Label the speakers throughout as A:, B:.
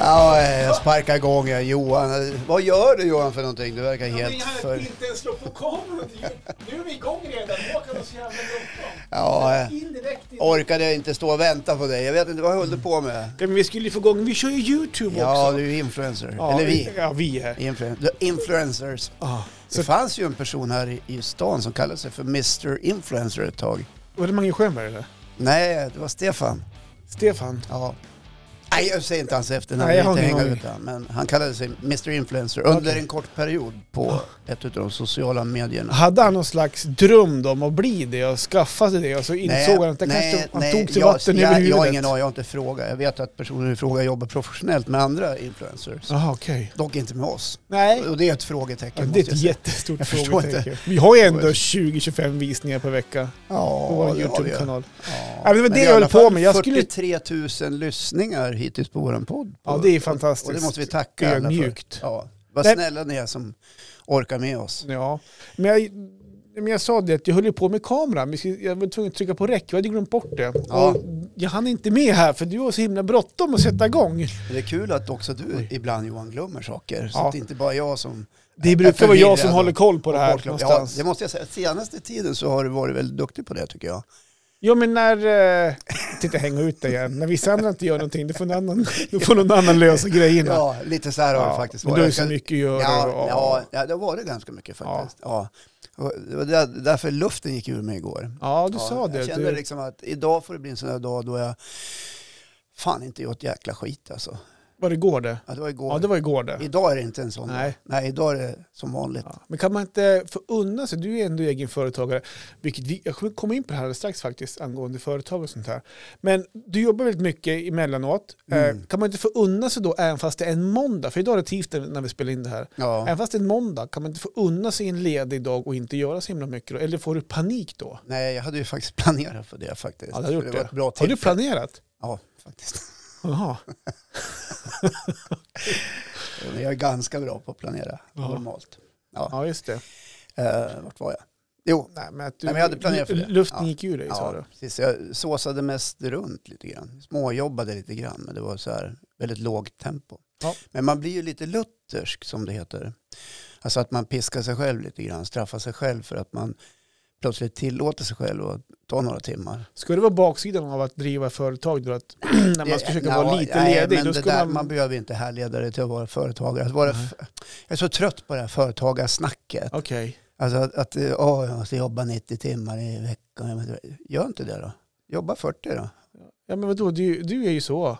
A: Ja, jag sparkar igång jag. Johan. Vad gör du Johan för någonting? Du verkar helt för...
B: inte ens slå på kameran. Nu är vi igång redan. Håkan har så jävla bråttom.
A: Ja, eh,
B: In direkt in.
A: orkade inte stå och vänta på dig. Jag vet inte, vad höll du på med?
B: Ja, men vi skulle ju få igång, vi kör ju YouTube
A: Ja,
B: också.
A: du är influencer.
B: Ja,
A: Eller vi.
B: Ja, vi är.
A: Influen- the influencers.
B: Ja.
A: Det
B: Så
A: fanns ju en person här i- i stan som kallade sig för Mr Influencer ett tag.
B: var det Mange Sjöberg eller?
A: Nej, det var Stefan.
B: Stefan?
A: Ja. Nej, jag säger inte hans efternamn.
B: Nej,
A: Jag
B: jag
A: vill
B: har
A: inte
B: ingen
A: hänga
B: aning.
A: ut han. Men han kallade sig Mr Influencer under
B: Okej.
A: en kort period på ett av de sociala medierna.
B: Hade han någon slags dröm om att bli det och skaffa sig det och så insåg han att det kanske han tog till
A: jag,
B: vatten
A: jag,
B: över huvudet?
A: Jag har ingen aning, jag har inte frågat. Jag vet att personer i fråga jobbar professionellt med andra influencers.
B: Jaha, okej.
A: Dock inte med oss.
B: Nej.
A: Och det är ett
B: Ja,
A: frågetecken.
B: det
A: måste
B: är ett
A: jag säga.
B: jättestort
A: Jag förstår
B: frågetecken. Vi har ju ändå 20-25 visningar per vecka
A: Ja,
B: på vår
A: det har vi ju.
B: YouTube-kanal.
A: Ja,
B: men det var
A: men
B: det
A: i
B: jag höll
A: alla fall
B: på med. Jag skulle-
A: 43 000 lyssningar hittills på vår podd.
B: Ja, det är
A: Och det
B: fantastiskt.
A: måste vi tacka alla för.
B: Ödmjukt.
A: Ja, vad
B: Nej.
A: snälla ni är som orkar med oss.
B: Ja, men jag, men jag sa det att jag höll ju på med kameran. Vi skulle- Jag var tvungen att trycka på räck. Jag hade glömt bort det.
A: Ja.
B: Och jag hann inte med här för du var så himla bråttom att sätta igång.
A: Det är kul att också du ibland Johan glömmer saker. Så
B: Ja.
A: att det inte bara är jag som...
B: Det brukar vara jag som
A: förvirrad
B: håller koll på
A: och
B: det här
A: bortglömd. Ja,
B: någonstans.
A: det måste jag säga. Senaste tiden så har du varit väldigt duktig på det tycker jag.
B: Jo men när... eh, Titta hänga ut det igen. När vissa andra inte gör någonting då får någon annan, då får någon annan lösa grejerna. Ja,
A: Ja, lite så här har det faktiskt
B: men
A: varit.
B: du har ju
A: Jag
B: så
A: ska-
B: mycket att göra.
A: Ja,
B: och,
A: ja, ja, det var det ganska mycket faktiskt. Ja. Och det var där, därför luften gick ur mig igår.
B: ja, du
A: Ja,
B: sa det.
A: Jag
B: att
A: kände
B: Du,
A: liksom att idag får det bli en sån här dag då jag fan inte gjort jäkla skit alltså.
B: var det igår det?
A: Ja, det var igår.
B: Ja, det var igår det.
A: Idag är det inte en sån dag.
B: Nej.
A: Nej, idag är det som vanligt.
B: Ja. Men kan man inte få unna sig, du är ändå egen företagare, vilket vi, jag kommer komma in på det här alldeles strax faktiskt, angående företag och sånt här. Men du jobbar väldigt mycket emellanåt.
A: Mm.
B: Eh, kan man inte få unna sig då, även fast det är en måndag, för idag är det tisdag när vi spelar in det här.
A: Ja.
B: Även fast det är en måndag, kan man inte få unna sig en ledig dag och inte göra så himla mycket då? Eller får du panik då?
A: Nej, jag hade ju faktiskt planerat för det faktiskt.
B: Ja, du har gjort
A: För
B: det.
A: var ett bra
B: Har du
A: tillfälle.
B: planerat?
A: Ja, faktiskt.
B: Jaha.
A: Men Jag är ganska bra på att planera
B: Ja.
A: normalt. Ja.
B: Ja, just det.
A: Eh, vart var jag? Jo,
B: Nej, men att du,
A: Nej, men jag hade planerat för det.
B: Luften
A: Ja.
B: gick ur dig, sa du.
A: ja, precis. Jag såsade mest runt lite grann. Småjobbade lite grann, men det var så här väldigt lågt tempo.
B: Ja.
A: Men man blir ju lite luthersk, som det heter. Alltså att man piskar sig själv lite grann, straffar sig själv för att man plötsligt tillåter sig själv att ta några timmar.
B: Ska det vara baksidan av att driva företag då? Att när man ska försöka
A: Eh, Ja,
B: vara lite
A: nej,
B: ledig,
A: men
B: då
A: det
B: ska
A: där,
B: man...
A: man behöver inte härleda det till att vara företagare. Att vara
B: Nej.
A: f- jag är så trött på det här företagarsnacket.
B: Okej.
A: Alltså att, att eh, åh, jag måste jobba 90 timmar i veckan. Jag vet inte, Gör inte det då. Jobba 40 då.
B: Ja men vadå, du, du är ju så.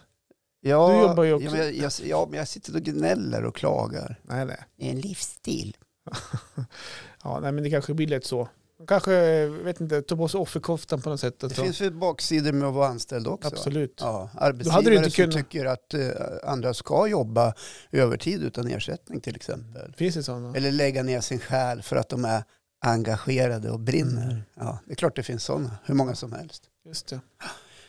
A: Ja,
B: Du jobbar ju också.
A: Ja men, jag, jag, ja, men jag sitter och gnäller och klagar.
B: Nej, nej.
A: Det är en livsstil.
B: Ja, nej men det kanske blir lätt så. Man kanske, jag vet inte, tar på sig offerkoftan på något sätt. Att
A: Det finns ju baksidor med att vara anställd också. va?
B: Absolut.
A: Ja,
B: Då hade
A: arbetsgivare
B: du inte
A: som
B: kunnat-
A: tycker att eh, andra ska jobba övertid utan ersättning till exempel.
B: Finns det sådana?
A: Eller lägga ner sin själ för att de är engagerade och brinner.
B: Mm.
A: Ja, det är klart det finns sådana, hur många som helst.
B: Just det.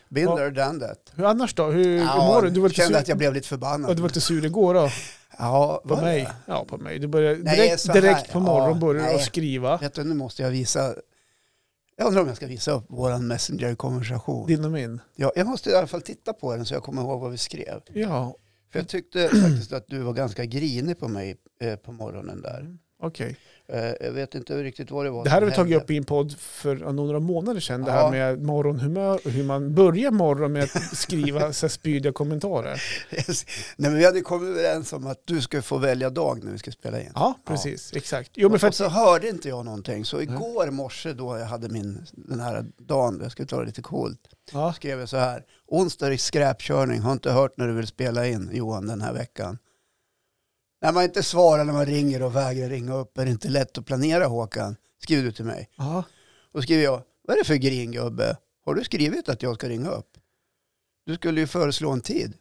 A: Been
B: Ja.
A: there, done that.
B: Hur annars då? Hur, hur mår du? Du var lite sur,
A: kände att jag blev lite förbannad.
B: ja, du var lite sur igår då?
A: Ja,
B: På
A: var
B: mig?
A: det?
B: Ja, på mig. Du började
A: Nej,
B: direkt,
A: så här.
B: direkt på morgonen
A: Ja,
B: började du
A: nej.
B: skriva.
A: Vet du, nu måste jag visa. Jag undrar om jag ska visa upp vår Messenger-konversation.
B: Din och min.
A: Ja, jag måste i alla fall titta på den så jag kommer ihåg vad vi skrev.
B: Ja,
A: För jag tyckte
B: Mm.
A: faktiskt att du var ganska grinig på mig eh, på morgonen där.
B: okej.
A: Eh, jag vet inte riktigt vad det var
B: Det här har
A: som
B: vi tagit
A: hände.
B: upp i en podd för några månader sedan. Det
A: Ja.
B: här med morgonhumör och hur man börjar morgon med att skriva så här spydiga kommentarer.
A: Nej, men vi hade kommit överens om att du skulle få välja dag när vi ska spela in.
B: Ja, precis. Exakt. Jo, men för Mm.
A: och
B: att,
A: så hörde inte jag någonting. Så igår morse då jag hade min, den här dagen, jag skulle ta det lite coolt,
B: ja,
A: skrev jag så här. Onsdag är skräpkörning, har inte hört när du vill spela in Johan den här veckan. När man inte svarar när man ringer och vägrar ringa upp är det inte lätt att planera Håkan, skriver du till mig.
B: ja.
A: Och skriver jag, vad är det för gringubbe? Har du skrivit att jag ska ringa upp? Du skulle ju föreslå en tid.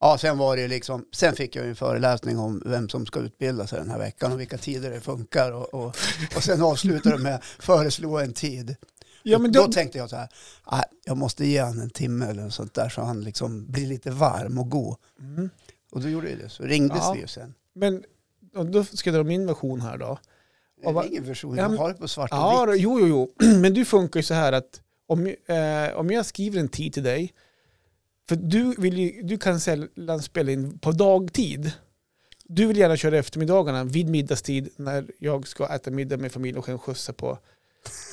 A: Ja, sen var det ju liksom, sen fick jag ju en föreläsning om vem som ska utbilda sig den här veckan och vilka tider det funkar och, och, och sen avslutade de med föreslå en tid.
B: Ja,
A: Då-
B: men
A: då,
B: då,
A: tänkte jag så här, "Ah, jag måste ge han en timme eller något sånt där så han liksom blir lite varm och god.
B: Mm.
A: Och då gjorde jag det, så ringdes
B: Ja.
A: vi ju sen.
B: men och då ska jag dra min version här då.
A: Det
B: Och va-
A: är ingen version,
B: Ja,
A: jag
B: men-
A: har det på svart och
B: Ja,
A: vitt.
B: då, jo, jo, jo. Men du funkar ju så här att om, eh, om jag skriver en tid till dig, För du, vill ju, du kan sällan spela in på dagtid. Du vill gärna köra eftermiddagarna vid middagstid när jag ska äta middag med familjen och kan skjutsa på,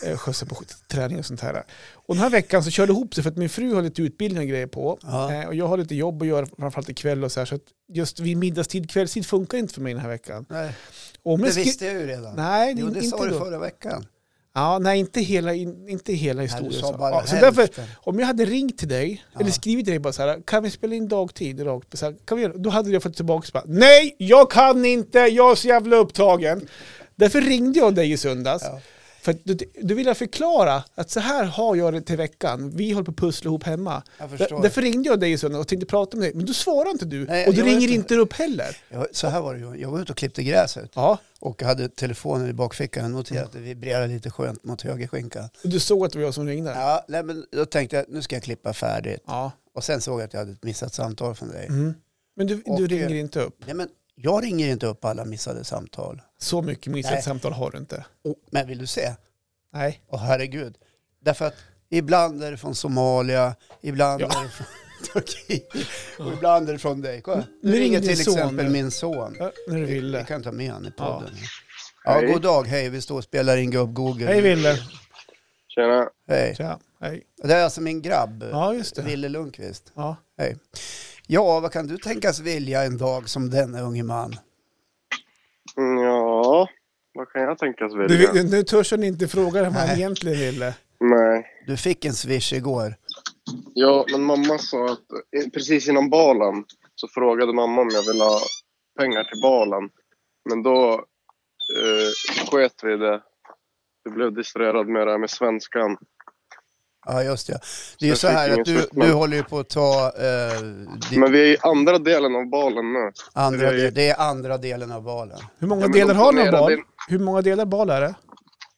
B: eh, skjutsa på träning och sånt här. Och den här veckan så körde det ihop sig för att min fru har lite utbildning och grejer på.
A: Ja.
B: Eh, och jag har lite jobb att göra framförallt ikväll och så här. Så att just vid middagstid, kvällstid funkar inte för mig den här veckan.
A: Nej,
B: Och om
A: det
B: jag skri-
A: visste jag ju redan.
B: Nej,
A: jo, det
B: inte
A: sa du
B: då.
A: förra veckan.
B: Ja, nej, inte hela, in- inte hela
A: Nej,
B: historien.
A: du
B: så.
A: sa bara
B: ja, så
A: hälften.
B: därför, om jag hade ringt till dig,
A: Ja.
B: eller skrivit till dig bara så här, kan vi spela in dagtid? Rakt, på så här, kan vi göra? Då hade jag fått tillbaka bara, nej, jag kan inte, jag är så jävla upptagen. Därför ringde jag dig i söndags.
A: Ja.
B: För att du, du ville förklara att så här har jag det till veckan. Vi håller på att pussla ihop hemma.
A: Jag
B: Där,
A: förstår.
B: därför ringde jag dig i söndags och tänkte prata med dig. Men då svarar inte du.
A: Nej,
B: och du
A: jag
B: ringer
A: vet
B: inte upp heller.
A: Jag, så här var det ju. Jag var ute och klippte gräset
B: Ja,
A: och hade telefonen i bakfickan. Jag noterade att det vibrerade lite skönt mot högerskinkan.
B: och du såg att det var jag som ringde. Ja.
A: Ja, nej, men då tänkte jag nu ska jag klippa färdigt.
B: ja.
A: Och sen såg jag att jag hade ett missat samtal från dig.
B: Mm. Men du, du
A: Och,
B: ringer
A: eh,
B: inte upp.
A: Nej, men jag ringer inte upp alla missade samtal.
B: Så mycket
A: Nej.
B: missat samtal har du inte.
A: Oh, men vill du se?
B: Nej.
A: Åh herregud. Därför att ibland är det från Somalia, ibland
B: Ja.
A: är det från Turkiet och ibland är det från dig. Kolla.
B: Nu
A: Nu ringer
B: ringde
A: till
B: sonen.
A: exempel min son.
B: Ja, när du
A: Vi
B: ville.
A: kan ta med honom i
B: Ja.
A: podden. Ja,
C: Hej.
A: god dag, hej. Vi står och spelar in gubb-Google.
B: Hej Ville.
C: Tjena.
A: Hej.
B: Tja. Hej.
A: Det är alltså min grabb,
B: Ja, just det.
A: Wille Lundqvist.
B: Ja.
A: Hej. Ja, vad kan du tänkas vilja en dag som denna unge man?
C: Mm, Ja, vad kan jag tänkas vilja?
B: Du, nu törs han inte fråga vad han
A: Nej.
B: egentligen ville.
C: Nej.
A: Du fick en swish igår.
C: Ja, men mamma sa att eh, precis innan balen så frågade mamma om jag ville ha pengar till balen. Men då eh, sket vi i det. Du blev distraherad med det här med svenskan.
A: Ja, just det. Det är ju
C: Jag
A: så här
C: fick
A: att
C: ingen
A: du,
C: swish, men-
A: du håller ju på att ta eh, din
C: Men vi är i andra delen av balen nu.
A: andra,
C: vi-
A: del- det är andra delen av valen.
B: Hur
C: Ja,
B: många
C: men de
B: delar har ni av
C: planerade-
B: bal? Hur många delar bal är det?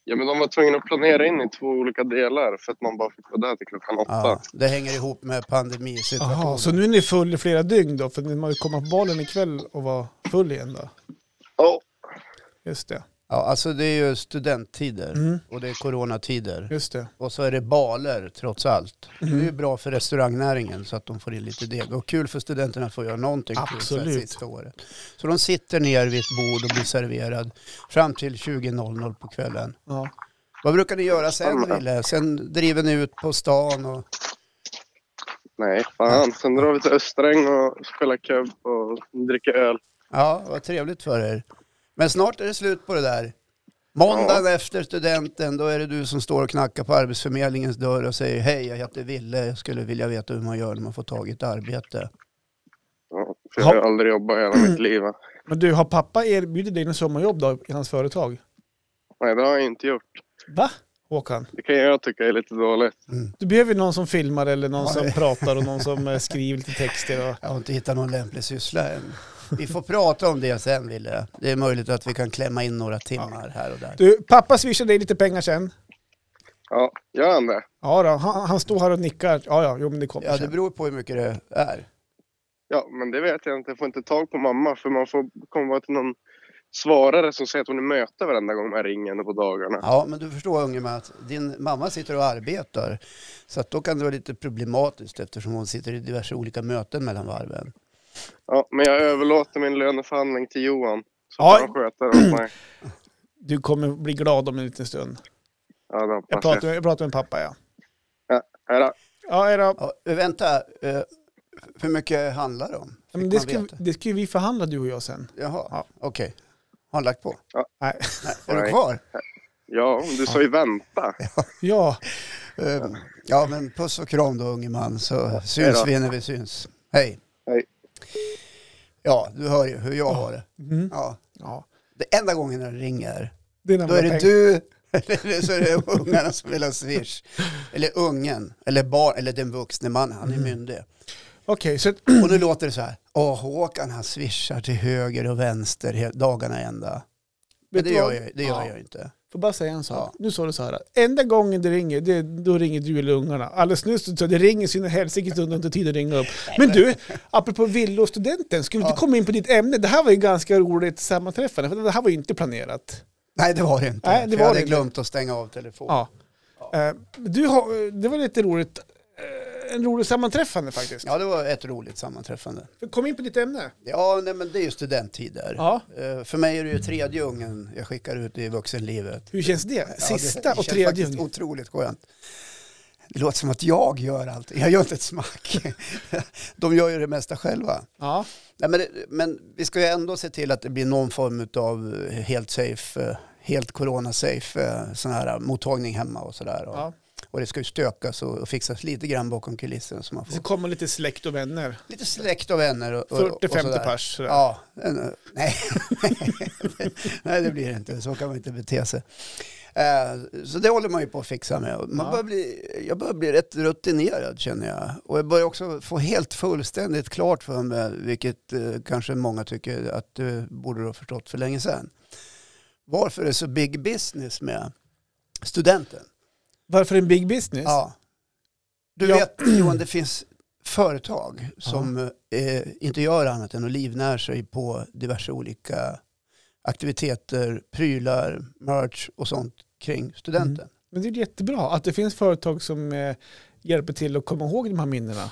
C: Ja, men de var tvungna att planera in i två olika delar för att man bara fick vara där till klockan åtta.
A: Ja, det hänger ihop med pandemisituationen.
B: Jaha, så nu är ni full i flera dygn då? För ni måste komma på balen ikväll och vara full igen då?
C: Ja,
B: Just det.
A: Ja, alltså det är ju studenttider
B: Mm.
A: och det är coronatider.
B: Just det.
A: Och så är det baler trots allt. Det
B: Mm.
A: är ju bra för restaurangnäringen så att de får in lite deg. Och kul för studenterna att få göra någonting kul så här
B: Absolut.
A: sista året. Så de sitter ner vid ett bord och blir serverad fram till 20.00 på kvällen.
B: Ja.
A: Vad brukar ni göra sen,
C: Stämmer.
A: Wille? Sen driver ni ut på stan och...
C: nej fan. Sen drar vi till Östräng och spelar kubb och dricker öl.
A: Ja, vad trevligt för er. Men snart är det slut på det där. Måndagen efter studenten, då är det du som står och knackar på Arbetsförmedlingens dörr och säger hej, jag heter Ville, jag skulle vilja veta hur man gör när man får tag i ett arbete.
C: Ja, för jag har
B: Ja.
C: aldrig jobbat hela mitt
B: Mm.
C: liv. va.
B: Men du, har pappa erbjudit dig något sommarjobb då i hans företag?
C: Nej, det har jag inte gjort.
B: Va? Håkan?
C: Det kan jag tycka är lite dåligt.
B: Du behöver ju någon som filmar eller någon
A: Ja,
B: som
A: det-
B: pratar och någon som eh, skriver lite texter. Och...
A: Jag har inte hittat någon lämplig syssla än. Vi får prata om det sen, Ville. Det är möjligt att vi kan klämma in några timmar här och där.
B: Du, pappa swishar dig lite pengar sen.
C: Ja, gör han det?
B: Ja då, han, han står här och nickar. Ja, ja, jo men det kommer
A: Ja, det
B: sen.
A: beror på hur mycket det är.
C: Ja, men det vet jag inte. Jag får inte tag på mamma för man får komma till någon svarare som säger att hon är i möte varenda gång man ringer henne på dagarna.
A: Ja, men du förstår unge med att din mamma sitter och arbetar. Så att då kan det vara lite problematiskt eftersom hon sitter i diverse olika möten mellan varven.
C: Ja, men jag överlåter min löneförhandling till Johan. Så
B: Ja.
C: får han sköta det åt mig.
B: Du kommer bli glad om en liten stund.
C: Ja, det
B: Jag
C: hoppas jag.
B: pratar, jag pratar med pappa ja.
C: Hej då.
B: Ja, är det,
A: Ja, vänta, eh, hur mycket handlar det om? Fick
B: men det,
A: man
B: ska,
A: veta?
B: det ska ju vi förhandla du och jag sen.
A: Jaha,
B: Ja.
A: okej. Har han lagt på?
B: Nej.
A: Nej, är du
C: Nej.
A: kvar?
C: Ja, du sa ju vänta.
B: Ja,
A: Eh, ja, men puss och kram då unge man så syns
C: då.
A: vi när vi syns. Hej.
C: Hej.
A: Ja, du hör ju hur jag har det.
B: mm.
A: Ja.
B: ja.
A: Det enda gången när det ringer
B: Det är när
A: Då
B: man
A: är det
B: har tänkt.
A: du, eller så är det ungarna som vill ha swish. Eller ungen, eller barn, eller den vuxne mannen, han är
B: Mm.
A: myndig.
B: Okej, så
A: Och nu låter det så här, åh Håkan han swishar till höger och vänster he- dagarna ända. Men
B: Vet
A: det
B: du
A: gör
B: vad?
A: jag, det gör
B: Ja.
A: jag inte.
B: får bara säga en sak.
A: Ja.
B: Nu sa du så här, enda gången det ringer, det, då ringer du eller ungarna. Alldeles nyss så det ringer sina helsike stund och inte tid att ringa upp. Men du, apropå villor och studenten, ska vi inte
A: Ja.
B: komma in på ditt ämne? Det här var ju ganska roligt sammanträffande, för det här var ju inte planerat.
A: Nej det var det inte.
B: Nej, det
A: För
B: var
A: jag hade
B: det inte.
A: glömt att stänga av telefonen.
B: Ja. Eh, Du har, det var lite roligt. Eh, en rolig sammanträffande faktiskt.
A: Ja, det var ett roligt sammanträffande.
B: Kom in på ditt ämne.
A: Ja, nej, men det är ju studenttid där.
B: Ja.
A: Eh, För mig är det ju tredje ungen jag skickar ut i vuxenlivet.
B: Hur känns det?
A: Ja,
B: Sista
A: det
B: och
A: känns
B: tredje.
A: faktiskt otroligt skönt. Det låter som att jag gör allt. Jag gör inte ett smack. De gör ju det mesta själva.
B: Ja.
A: Nej, men, det- men vi ska ju ändå se till att det blir någon form av helt safe, eh, helt corona-safe eh, sån här mottagning hemma och sådär. Och,
B: ja.
A: och det ska ju stökas och, och fixas lite grann bakom kulisserna så man
B: Det
A: får
B: kommer lite släkt och vänner.
A: lite släkt och vänner och, och, och
B: 40-50
A: sådär.
B: pers. sådär.
A: Ja, en- nej. nej, det blir det inte. Så kan man inte bete sig. Eh, Så det håller man ju på att fixa med. Och Man
B: Ja.
A: börjar bli, jag börjar bli rätt rutinerad känner jag. Och jag börjar också få helt fullständigt klart för mig, vilket eh, kanske många tycker att du borde ha förstått för länge sedan. Varför är det så big business med studenten?
B: Varför en big business?
A: Ja. Du
B: Ja.
A: vet Johan, det finns företag som eh, inte gör annat än att livnär sig på diverse olika aktiviteter, prylar, merch och sånt kring studenten.
B: Men det är jättebra att det finns företag som eh, hjälper till att komma ihåg de här minnena.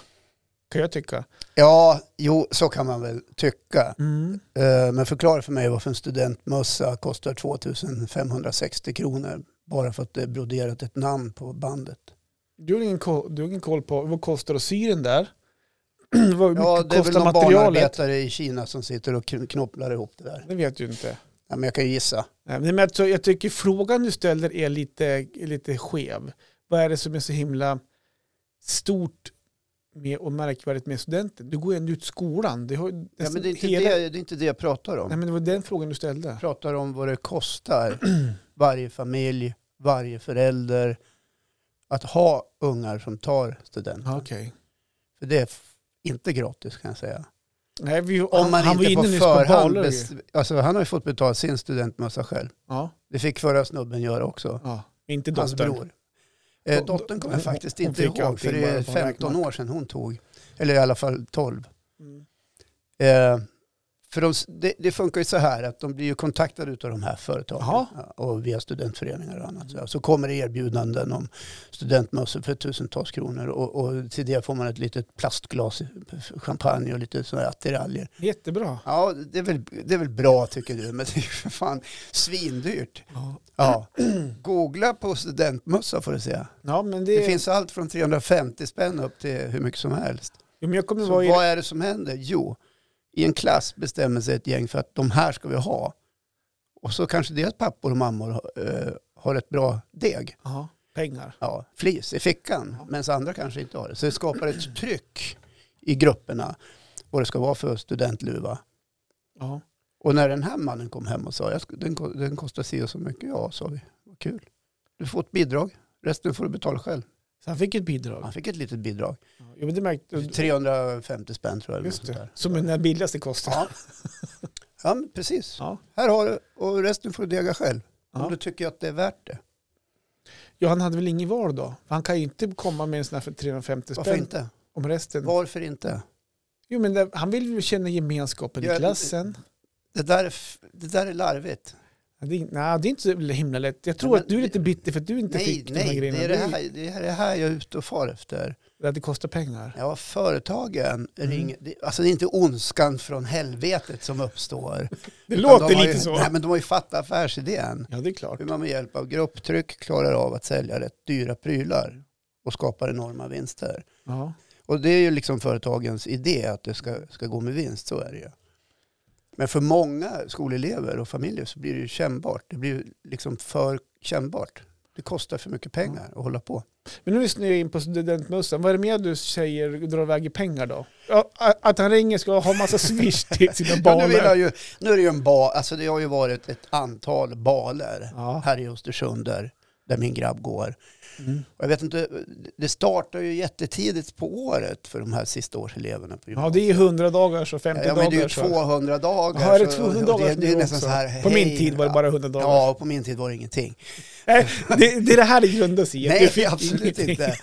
B: Kan jag tycka.
A: Ja, jo, så kan man väl tycka.
B: Mm.
A: Eh, men förklara för mig varför en studentmössa kostar 2560 kronor bara för att det är broderat ett namn på bandet.
B: Du, har ingen koll, du har ingen koll på vad kostar att sy den där? vad
A: Ja,
B: mycket
A: det är väl
B: kostar
A: någon
B: materialet?
A: barnarbetare i Kina som sitter och kn- knopplar ihop det där.
B: Det vet du inte.
A: Ja, men jag kan ju gissa.
B: Nej, men alltså, jag tycker frågan du ställer är lite, är lite skev. Vad är det som är så himla stort med och märkvärdigt med studenten? Du går ju ändå ut skolan. Det, har,
A: Ja, men det, är inte
B: hela-
A: det, det är inte det jag pratar om.
B: Nej, men det var den frågan du ställde.
A: Jag pratar om vad det kostar varje familj, varje förälder att ha ungar som tar studenten.
B: Ja, okej.
A: För det är f- inte gratis kan jag säga.
B: Nej, vi,
A: Om man inte på förhand...
B: Balor ju.
A: bes- alltså, han har ju fått betala sin studentmössa själv.
B: Ja,
A: Det fick förra snubben göra också.
B: ja. Inte
A: Hans
B: dottern.
A: bror. Eh,
B: Hon-
A: dottern kommer jag
B: hon-
A: faktiskt
B: hon
A: inte
B: fick
A: ihåg
B: allting
A: för det är
B: bara på
A: 15
B: räkmack.
A: år sedan hon tog. Eller i alla fall 12.
B: Mm.
A: Eh, för de, det, det funkar ju så här att de blir ju kontaktade av de här företagen
B: Jaha.
A: ja, och via studentföreningar och annat. Så, så kommer det erbjudanden om studentmössor för tusentals kronor och, och till det får man ett litet plastglas champagne och lite sådana här attiraljer.
B: Jättebra.
A: Ja, det är, väl, det är väl bra tycker du, men det är ju för fan svindyrt.
B: Ja.
A: Ja. Googla på studentmössa får du se.
B: Ja, men det,
A: Det finns allt från 350 spänn upp till hur mycket som helst.
B: Jo, men jag kommer
A: Så
B: vara i...
A: vad är det som händer? Jo, i en klass bestämmer sig ett gäng för att de här ska vi ha. Och så kanske deras pappor och mammor eh, har ett bra deg,
B: Ja, pengar.
A: ja, flis i fickan,
B: Ja.
A: medan andra kanske inte har det. Så det skapar ett tryck i grupperna vad det ska vara för studentluva.
B: Ja.
A: Och när den här mannen kom hem och sa, jag, sk- den, ko- den kostar si och så mycket, ja, sa vi, vad kul. Du får ett bidrag, resten får du betala själv.
B: Så han fick ett bidrag.
A: Han fick ett litet bidrag,
B: Ja, jo, men det märkte...
A: 350 spänn tror jag. eller
B: Just
A: något sånt
B: det.
A: där.
B: Som är den billigaste kostar.
A: Ja. Ja, men precis.
B: Ja.
A: Här har du och resten får du dega själv.
B: Ja.
A: Om du tycker att det är värt det.
B: Ja, han hade väl ingen val då? För han kan ju inte komma med en sån här för 350
A: Varför
B: spänn
A: inte?
B: om resten.
A: Varför inte?
B: Jo, men det, han vill ju känna gemenskapen
A: Ja,
B: i klassen.
A: Det där är, f- det där är larvigt.
B: Ja, Det, är- nej, det är inte så himla lätt. Jag tror
A: Ja, men
B: att du är
A: det-
B: lite bitter för att du inte
A: Nej,
B: fick de här
A: nej,
B: grejerna.
A: det är det,
B: Du-
A: här, det är det här jag är ute och far efter.
B: det att det kostar pengar.
A: Ja, företagen
B: Mm.
A: ringer. Det, alltså det är inte ondskan från helvetet som uppstår.
B: Det
A: Utan
B: låter
A: de har
B: lite
A: ju,
B: så.
A: Nej, men de har ju fattat affärsidén.
B: Ja, det är klart.
A: Hur man med hjälp av grupptryck klarar av att sälja rätt dyra prylar och skapar enorma vinster.
B: Ja.
A: Och det är ju liksom företagens idé att det ska, ska gå med vinst, så är det ju. Men för många skolelever och familjer så blir det ju kännbart. Det blir ju liksom för kännbart. Det kostar för mycket pengar att hålla på.
B: Men nu lyssnar jag in på studentmössan. Vad är det mer du säger drar iväg i pengar då? Ja, a- att han ringer ska ha massa swish till sina
A: Ja, nu, vill jag
B: barn.
A: ju, nu är det ju en bal, alltså det har ju varit ett antal baler
B: Ja.
A: här i Östersund där, där min grabb går.
B: Mm.
A: Och jag vet inte, det startar ju jättetidigt på året för de här sista årseleverna på
B: ja,
A: gymnasiet.
B: det är 100 dagar så 50
A: Ja, men det är ju
B: dagar så.
A: 200 dagar.
B: Ja, är det
A: så-
B: 200
A: och
B: dagar
A: det,
B: som
A: det är
B: det
A: nästan
B: också?
A: så här,
B: På min
A: hej,
B: tid var det bara 100 dagar.
A: Ja, på min tid var det ingenting.
B: Nej, det, det är det här det grundas i. att du
A: Nej,
B: fick
A: absolut
B: ingenting.
A: inte.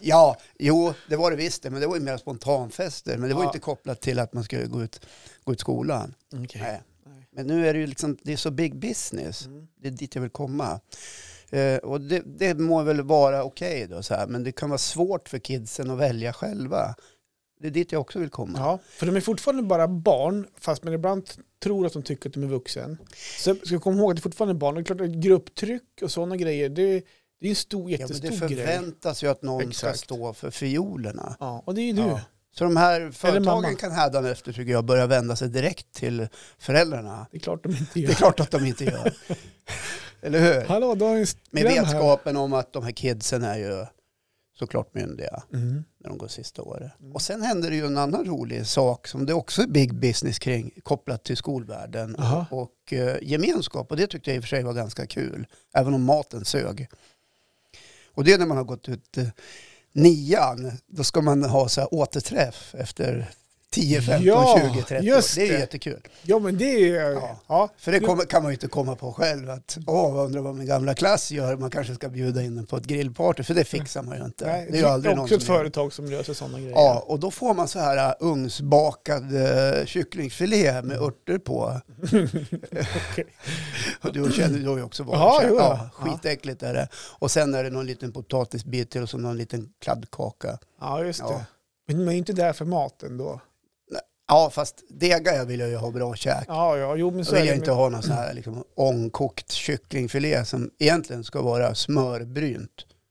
A: Ja, jo, det var det visst det, men det var ju mer spontanfester. Men det var ju
B: Ja.
A: inte kopplat till att man skulle gå ut, gå ut skolan.
B: Okej.
A: Nej.
B: Nej.
A: Men nu är det ju liksom, det är så big business.
B: Mm.
A: Det är dit jag vill komma. Eh, och det, det må väl vara okej då så här, men det kan vara svårt för kidsen att välja själva. Det är dit jag också vill komma.
B: Ja, för de är fortfarande bara barn, fast man ibland t- tror att de tycker att de är vuxen. Så ska vi komma ihåg att det är fortfarande barn. Det är klart att grupptryck och sådana grejer, det, det är en stor,
A: Ja, men
B: jättestor
A: det
B: grej.
A: förväntas ju att någon
B: Exakt.
A: ska stå för fiolerna.
B: Ja, och det är ju du.
A: Ja. Så de här
B: mamma.
A: företagen kan hädanefter, tycker jag, börja vända sig direkt till föräldrarna.
B: Det är klart de inte
A: Det är
B: gör.
A: klart att de inte gör. Eller hur?
B: Hallå, dagens
A: Med vetskapen om att de här kidsen är ju såklart myndiga
B: Mm.
A: när de går sista året. Och sen händer det ju en annan rolig sak som det också är big business kring kopplat till skolvärlden
B: Aha.
A: och eh, gemenskap. Och det tyckte jag i och för sig var ganska kul, även om maten sög. Och det är när man har gått ut eh, nian, då ska man ha så här återträff efter 10, 15,
B: Ja,
A: 20, 30 år.
B: just
A: Det är ju
B: det.
A: jättekul.
B: Ja, men det är ju...
A: Ja.
B: Ja.
A: För det kommer, kan man ju inte komma på själv att åh, vad undrar vad min gamla klass gör, man kanske ska bjuda in den på ett grillparty, för det fixar man ju inte.
B: Nej,
A: det är ju aldrig någon
B: också
A: som
B: ett
A: gör.
B: företag som löser sådana grejer.
A: Ja, och då får man så här äh, ugnsbakad äh, kycklingfilé
B: Mm.
A: med örter på. och du känner du har ju också varit
B: Ja,
A: så här,
B: jo då.
A: ja, skitäckligt är det. Och sen är det någon liten potatisbit till och så någon liten kladdkaka.
B: ja just
A: Ja.
B: det. Men man är ju inte där för maten då.
A: Ja, fast degar vill jag ju ha bra käk.
B: Ja, ja, jo, men
A: Då
B: så
A: vill
B: är
A: jag
B: det.
A: inte ha någon sån här liksom, ångkokt kycklingfilé som egentligen ska vara smörbrynt.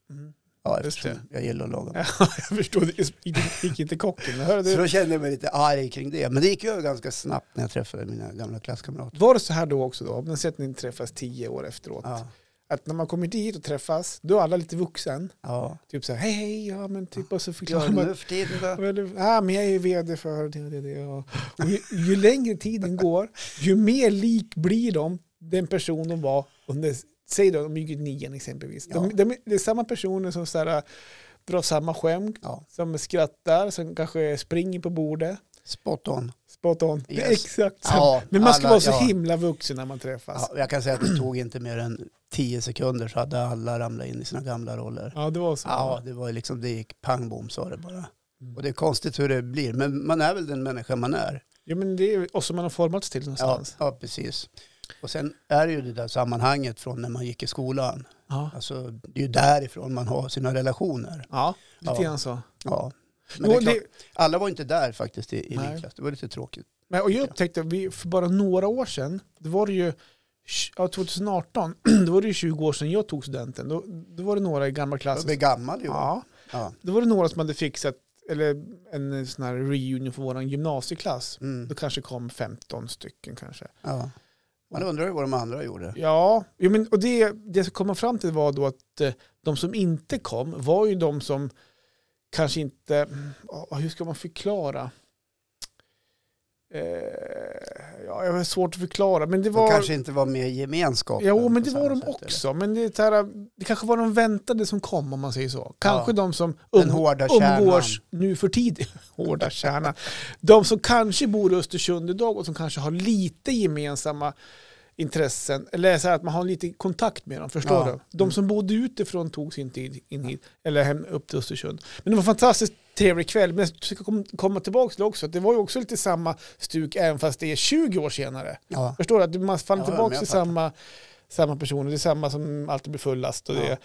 B: Mm.
A: Ja,
B: Just
A: eftersom jag gillar att laga mat.
B: Ja, jag förstår, det gick- gick inte kocken. Men Hör
A: Så
B: du,
A: då kände jag mig lite arg kring det. Men det gick över ganska snabbt när jag träffade mina gamla klasskamrater.
B: var det så här då också då? Men säg att ni träffas tio år efteråt.
A: Ja,
B: Att när man kommer dit och träffas, då är alla lite vuxen.
A: ja.
B: Typ så här, hej, hej, ja men typ och så
A: Gör
B: förklarar
A: det
B: man.
A: nu för tiden då?
B: "Ja, du- Ja, men jag är ju vd för det och det. och det och, och ju, ju längre tiden går, ju mer lik blir de den person de var under, säg då, de gick ut nian exempelvis. De,
A: Ja.
B: de, det är samma personer som så här, äh, drar samma skämt,
A: Ja,
B: som skrattar, som kanske springer på bordet.
A: spot on.
B: Spot on. Det är
A: Yes.
B: exakt samma.
A: Ja,
B: Men man ska
A: alla-
B: vara så
A: ja.
B: himla vuxen när man träffas.
A: Ja, jag kan säga att det tog inte mer än tio sekunder så hade alla ramlat in i sina gamla roller.
B: Ja, det var så.
A: Ja, det var ju liksom, det gick pang bom sa det bara. Och det är konstigt hur det blir, men man är väl den människa man är.
B: Ja, men det är också man har formats till
A: Ja,
B: någonstans.
A: ja, precis. Och sen är det ju det där sammanhanget från när man gick i skolan.
B: Ja, ja.
A: Alltså, det är ju därifrån man har sina relationer.
B: lite
A: Ja.
B: grann så.
A: Ja. Men
B: Men,
A: det
B: jo,
A: är klart,
B: det,
A: alla var inte där faktiskt i, i
B: Nej.
A: min klass. Det var lite tråkigt.
B: men, och jag upptäckte, att vi, för bara några år sedan, det var det ju ja, 2018, då var det ju 20 år sedan jag tog studenten. Då, då var det några i gamla
A: Jag blev
B: klassen.
A: gammal ju. Ja.
B: Alltså- Ja, då var det några som hade fixat eller en sån här reunion för vår gymnasieklass.
A: Mm.
B: Då kanske kom 15 stycken kanske.
A: ja. Man undrar ju vad de andra gjorde.
B: Ja, jo, men, och det, det som kom fram till var då att eh, de som inte kom var ju de som kanske inte, mm, ja, hur ska man förklara? Eh, ja, jag har svårt att förklara, men det
A: De
B: var...
A: kanske inte var med i gemenskapen.
B: Jo, men
A: på
B: det
A: samma
B: var de
A: sätt, eller?
B: också. Men det, är så här, det kanske var de väntade som kom, om man säger så. Kanske
A: Ja.
B: de som
A: Den
B: um,
A: hårda kärnan.
B: umgås nu för tidigt. Hårda kärnan. De som kanske bor i Östersund idag och som kanske har lite gemensamma intressen. Eller så här att man har lite kontakt med dem, förstår
A: Ja. Mm.
B: du? De som bodde utifrån tog sin tid in hit, eller hem upp till Östersund. Men det var en fantastiskt trevlig kväll. Men jag ska kom- komma tillbaka till också, att det var ju också lite samma stuk även fast det är 20 år senare.
A: Ja.
B: Förstår du? Att man faller
A: Ja, men
B: tillbaka
A: jag
B: till
A: fattar.
B: samma, samma personer. Det är samma som alltid blir fullast och,
A: Ja.
B: det,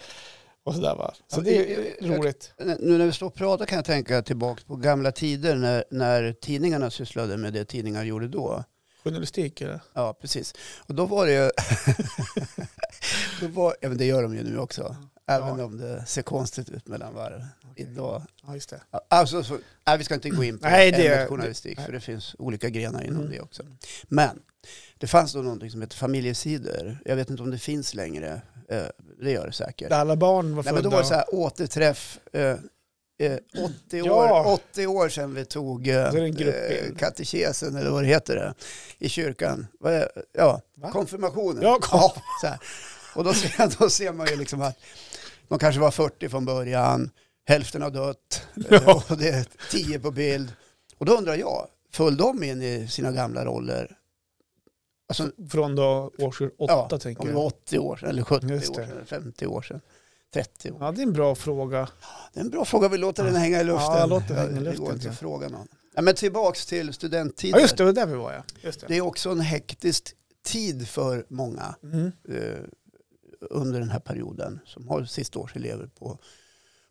B: och sådär va. Så
A: Ja,
B: det
A: jag-
B: är
A: jag-
B: roligt.
A: Nu när vi står och pratar kan jag tänka tillbaka på gamla tider när, när tidningarna sysslade med det tidningar gjorde då.
B: Journalistik eller?
A: Ja, precis. Och då var det ju... då var, ja, men det gör de ju nu också. Även
B: Ja.
A: om det ser konstigt ut mellan varven.
B: Okej.
A: Idag.
B: Ja, just det.
A: Alltså, så, nej, vi ska inte gå in på
B: Nej, det-
A: ämnet journalistik,
B: det-
A: för det finns olika grenar inom
B: Mm.
A: det också. Men det fanns då någonting som heter familjesidor. Jag vet inte om det finns längre. Eh, Det gör det säkert.
B: Där alla barn
A: Nej,
B: var födda.
A: men då var det så här återträff. Eh, eh, 80, år,
B: Ja.
A: 80 år sedan vi tog eh,
B: Så är det en gruppbild.
A: eh, katekesen, eller vad det heter, det, i kyrkan. Vad är- Ja,
B: Va?
A: konfirmationen.
B: Ja, kom.
A: Så här. Och då ser, då ser man ju liksom att de kanske var 40 från början, hälften har dött, eh, och det är 10 på bild. Och då undrar jag, föll de in i sina gamla roller? Alltså,
B: Från då årskurs åtta tänker
A: om det
B: jag.
A: var 80 år sedan, eller 70 år
B: Just det.
A: sedan, eller 50 år sedan, 30 år
B: Ja, det är en bra fråga.
A: det är en bra fråga, vi låter den hänga i luften.
B: Ja, låt den hänga i
A: Det
B: luften,
A: går inte
B: ja.
A: att fråga någon. Ja, men tillbaks till studenttider.
B: Ja, just det, det var där vi var ja. Just det.
A: Det är också en hektisk tid för många
B: Mm.
A: eh, under den här perioden som har sistaårselever på,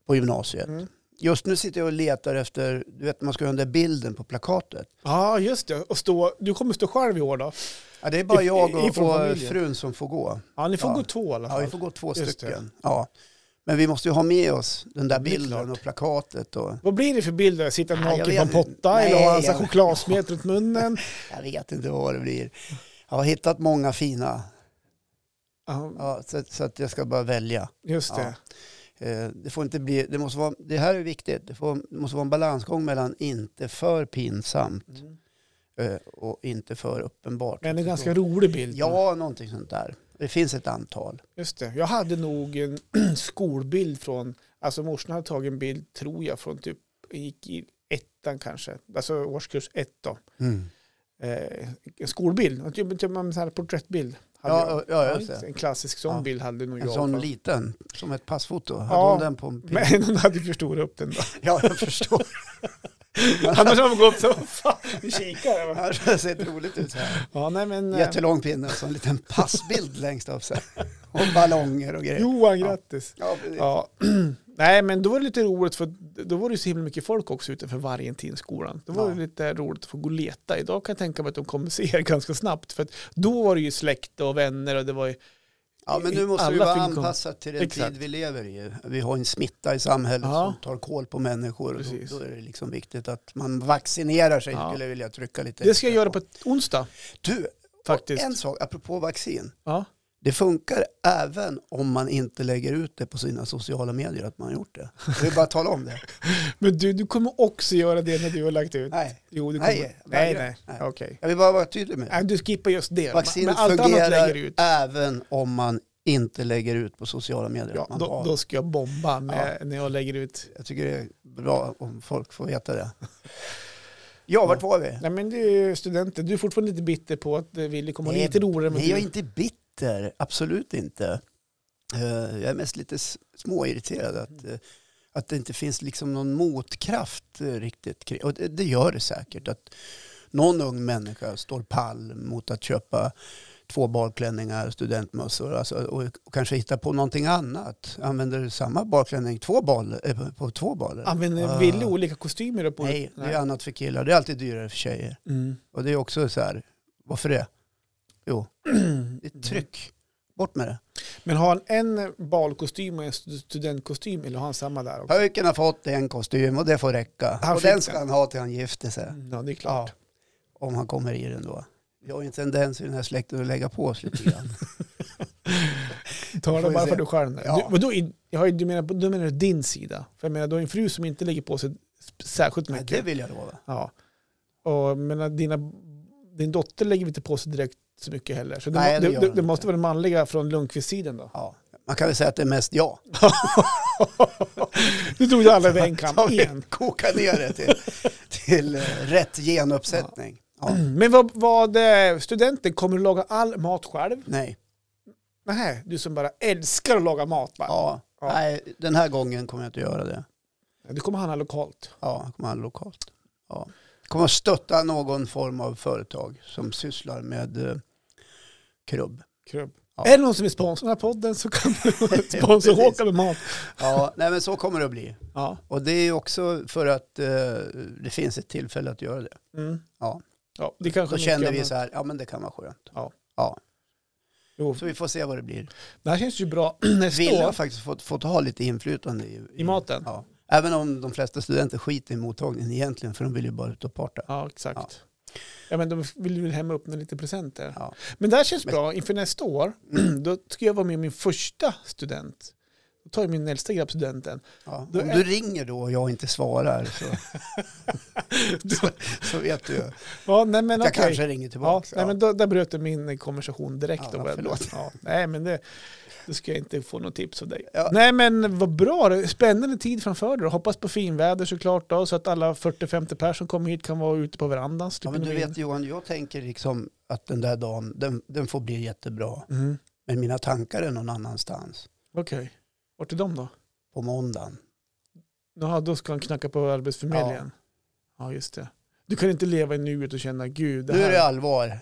A: på gymnasiet.
B: Mm.
A: Just nu sitter jag och letar efter, du vet man ska ha den där bilden på plakatet.
B: Ja, just det. Och stå, du kommer stå själv i år då?
A: Ja, det är bara
B: I-
A: jag och,
B: ifrån
A: och
B: familjen.
A: frun som får gå.
B: Ja, ni får
A: Ja.
B: gå två i alla
A: Ja,
B: fall.
A: vi får gå två
B: Just
A: stycken. Ja. Men vi måste ju ha med oss den där
B: Det är
A: bilden
B: klart.
A: och plakatet. Och,
B: Vad blir det för bilder? Sitta
A: Ja, jag
B: naken på
A: vet
B: en potta
A: inte.
B: eller ha en
A: Nej,
B: sån
A: jag-
B: här chokladsmet runt munnen?
A: jag vet inte vad det blir. Jag har hittat många fina.
B: Ja,
A: Ja, så, så att jag ska bara välja.
B: just det.
A: Eh, Det får inte bli, det måste vara, det här är viktigt, det, får, det måste vara en balansgång mellan inte för pinsamt
B: Mm.
A: eh, och inte för uppenbart.
B: Men en ganska rolig bild.
A: Mm. Ja, någonting sånt där. Det finns ett antal.
B: Just det. Jag hade nog en skolbild från, alltså morsan hade tagit en bild, tror jag, från typ, jag gick i ettan kanske, alltså årskurs ett då. Eh, en skolbild, en typ, typ en sån här porträttbild. hade jag.
A: Ja, ja, just det.
B: en klassisk sån
A: Ja.
B: bild hade nog
A: En
B: jag.
A: sån
B: för-
A: liten, som ett passfoto. Hade
B: Ja,
A: hon den på en pin?
B: Men hon hade ju förstorat upp den då.
A: Ja, jag förstår.
B: Annars hade hon gått så, fan, vi kikar. va?
A: Annars hade det sett roligt ut så här.
B: Ja, nej men. eh,
A: Jättelång pinne och så en liten passbild längst upp så här. Och ballonger och grejer.
B: eh, Johan,
A: Ja.
B: grattis.
A: Ja, precis.
B: Ja. Nej, men då var det lite roligt för då var det ju så himla mycket folk också utanför Vargentinskolan. Då var
A: Ja.
B: det lite roligt att få gå och leta. Idag kan jag tänka mig att de kommer se er ganska snabbt. För att då var det ju släkt och vänner och det var ju...
A: Ja, men nu måste
B: Alla
A: vi vara
B: fick komma.
A: anpassat till den
B: Exakt.
A: tid vi lever i. Vi har en smitta i samhället
B: Ja.
A: som tar koll på människor. Och
B: Precis.
A: då, då är det liksom viktigt att man vaccinerar sig,
B: Ja.
A: skulle jag vilja trycka lite.
B: Det ska jag
A: extra
B: göra på ett onsdag
A: Du,
B: faktiskt.
A: en sak apropå vaccin.
B: Ja.
A: Det funkar även om man inte lägger ut det på sina sociala medier att man har gjort det. Jag vill bara tala om det.
B: Men du, du kommer också göra det när du har lagt ut.
A: Nej,
B: Jo, du kommer...
A: Nej,
B: Nej, nej.
A: vägrar.
B: nej.
A: Nej.
B: Okej.
A: jag vill bara vara tydlig med det.
B: Nej, Du skippar just det.
A: Vaccinet
B: men allt annat lägger
A: fungerar
B: du ut.
A: även om man inte lägger ut på sociala medier.
B: Ja,
A: att man
B: då,
A: har.
B: då ska jag bomba med, när jag lägger ut.
A: Jag tycker det är bra om folk får veta det. Ja, vart var vi?
B: Nej men du studenten, du är fortfarande lite bitter på att eh, Willy kommer ha
A: Nej,
B: lite roligare med
A: Nej, jag är
B: dig.
A: inte bitter. Absolut inte. Eh, Jag är mest lite s- småirriterad att, eh, att det inte finns liksom någon motkraft eh, riktigt. kring- Och det- det gör det säkert. Att någon ung människa står pall mot att köpa två balklänningar, studentmössor alltså, och, och kanske hitta på någonting annat. Använder samma balklänning två bal, eh, på, på två baler?
B: Använder
A: Ah.
B: Willy eh, olika kostymer? På
A: Nej, det är annat för killar. Det är alltid dyrare för tjejer.
B: Mm.
A: Och det är också så här, varför det? Jo, det är tryck. Bort med det.
B: Men har han en balkostym och en stu- studentkostym eller har han samma där också?
A: Pöjken har fått en kostym och det får räcka.
B: Han
A: och
B: fick
A: den ska
B: den.
A: han ha till han gifter sig.
B: Mm, Ja, det är klart.
A: Om han kommer i den då. Vi har ju en tendens i den här släkten att lägga på oss lite grann.
B: Ta
A: Får
B: det
A: vi
B: bara
A: se.
B: för dig själv. nu.
A: Ja.
B: Du, men då, i- jag har, ju- du, menar, du menar din sida? För jag menar, du har en fru som inte lägger på sig s- särskilt
A: Nej,
B: mycket.
A: det vill jag lova.
B: Ja. Och jag menar, dina, din dotter lägger inte på sig direkt så mycket heller. Så det,
A: Nej,
B: må-
A: det
B: det,
A: gör hon
B: det, det
A: inte.
B: måste vara den manliga från Lundqvist-sidan då.
A: Ja. Man kan väl säga att det är mest jag.
B: nu tog du alla över en kam
A: Som vill
B: igen.
A: koka ner det till, till eh, rätt genuppsättning. Ja.
B: Men vad, vad eh, studenten, kommer du laga all mat själv?
A: Nej.
B: Nej, du som bara älskar att laga mat. Bara.
A: Ja.
B: Ja.
A: Nej, den här gången kommer jag inte göra det.
B: Du kommer handla lokalt.
A: Ja, jag kommer handla lokalt. Ja. Jag kommer att stötta någon form av företag som sysslar med eh, krubb.
B: Krubb.
A: Ja.
B: Är det någon som är sponsor av podden så kan du sponsra
A: precis.
B: Håkan med mat.
A: Ja, nej men så kommer det att bli.
B: Ja.
A: Och det är ju också för att eh, det finns ett tillfälle att göra det.
B: Mm.
A: Ja.
B: ja, det kanske
A: Då känner vi
B: mycket
A: så här, ja men det kan vara skönt.
B: annat.
A: Så
B: Jo,
A: vi får se vad det blir.
B: det här känns ju bra nästa
A: Vill har
B: år.
A: faktiskt fått, fått ha lite inflytande i,
B: I maten?
A: Ja. Även om de flesta studenter skiter i mottagningen egentligen, för de vill ju bara ut och parta.
B: Ja, exakt. Ja, men de vill ju hem och öppna lite presenter.
A: Ja.
B: Men det här känns
A: Men- Mm.
B: bra. Inför nästa år, då ska jag vara med min första student. Då tar jag min äldsta grabb studenten.
A: Ja. Om
B: Då är-
A: du ringer då och jag inte svarar så, så, så vet du ju.
B: Ja, nej, men
A: Jag
B: okej.
A: kanske ringer
B: Ja,
A: tillbaka.
B: nej, men då, där bröt du min konversation direkt.
A: Ja,
B: då,
A: ja, förlåt.
B: Ja, nej, men det, då ska jag inte få något tips av dig.
A: Ja.
B: Nej, men vad bra. Det är Spännande tid framför dig. Hoppas på finväder såklart då, så att alla 40-50 personer som kommer hit kan vara ute på verandan.
A: Ja,
B: slipper
A: men du
B: de in.
A: vet Johan, jag tänker liksom att den där dagen, den, den får bli jättebra.
B: Mm.
A: Men mina tankar är någon annanstans.
B: Okej. Vart är de då?
A: På måndagen.
B: Jaha, då ska han knacka på Arbetsförmedlingen. Ja. just det. Du kan inte leva i nuet och känna gud, det
A: Nu är
B: här,
A: det allvar.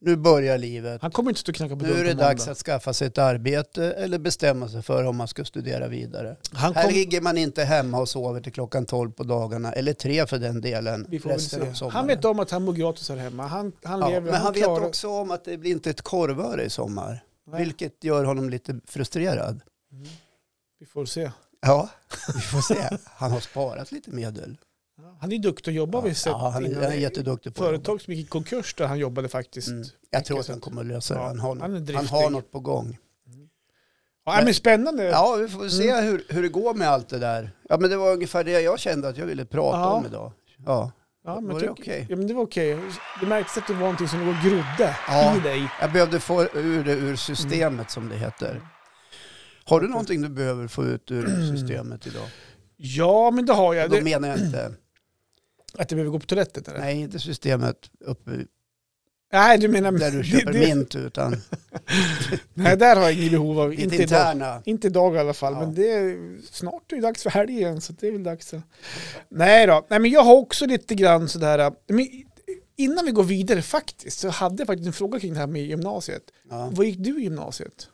A: nu börjar livet.
B: Han kommer inte stå och knacka på
A: Nu
B: dörren
A: är det
B: på måndag.
A: dags att skaffa sig ett arbete eller bestämma sig för om man ska studera vidare.
B: Han
A: Här
B: kom,
A: ligger man inte hemma och sover till klockan 12 på dagarna, eller tre för den delen,
B: vi får väl
A: resten av
B: se.
A: sommaren.
B: Han vet om att han mår gratis här hemma. Han, han
A: ja,
B: lever,
A: Men han vet
B: klarar-
A: också om att det blir inte ett korvöre i sommar,
B: Nej,
A: vilket gör honom lite frustrerad.
B: Vi får se.
A: Ja, vi får se. Han har sparat lite medel.
B: Han är duktig att jobba har vi sett.
A: Ja, han, är,
B: innan.
A: han är jätteduktig på det.
B: Företag som gick i konkurs där han jobbade faktiskt.
A: Mm. Jag tror att han kommer att lösa det.
B: Ja,
A: Han har, något,
B: han är
A: han,
B: driftig.
A: har något på gång.
B: Ja, Mm. men spännande.
A: Ja, vi får se hur, hur det går med allt det där. Ja, men det var ungefär det jag kände att jag ville prata
B: Ja.
A: om idag. Ja.
B: Ja, men
A: Var det
B: tyck-
A: okej?
B: Ja, men det var okej. Det märktes att det var någonting som låg och grodde
A: Ja.
B: i dig.
A: Jag behövde få ur det ur systemet som det heter. Har du någonting du behöver få ut ur systemet idag?
B: Mm. Ja, men det har jag.
A: Då
B: Det,
A: menar jag inte,
B: att jag behöver gå på toaletten? Eller?
A: nej inte systemet uppe
B: Nej, du menar...
A: där du köper
B: det, det,
A: mint utan
B: Nej, där har jag inget behov av.
A: ditt
B: Inte idag.
A: interna.
B: Inte idag i alla fall,
A: Ja.
B: men det är, snart är det dags för helg igen, så det är väl dags. att- Nej då, Nej, men jag har också lite grann sådär, äh, men innan vi går vidare faktiskt, så hade jag faktiskt en fråga kring det här med gymnasiet.
A: Ja.
B: Vad gick du i gymnasiet?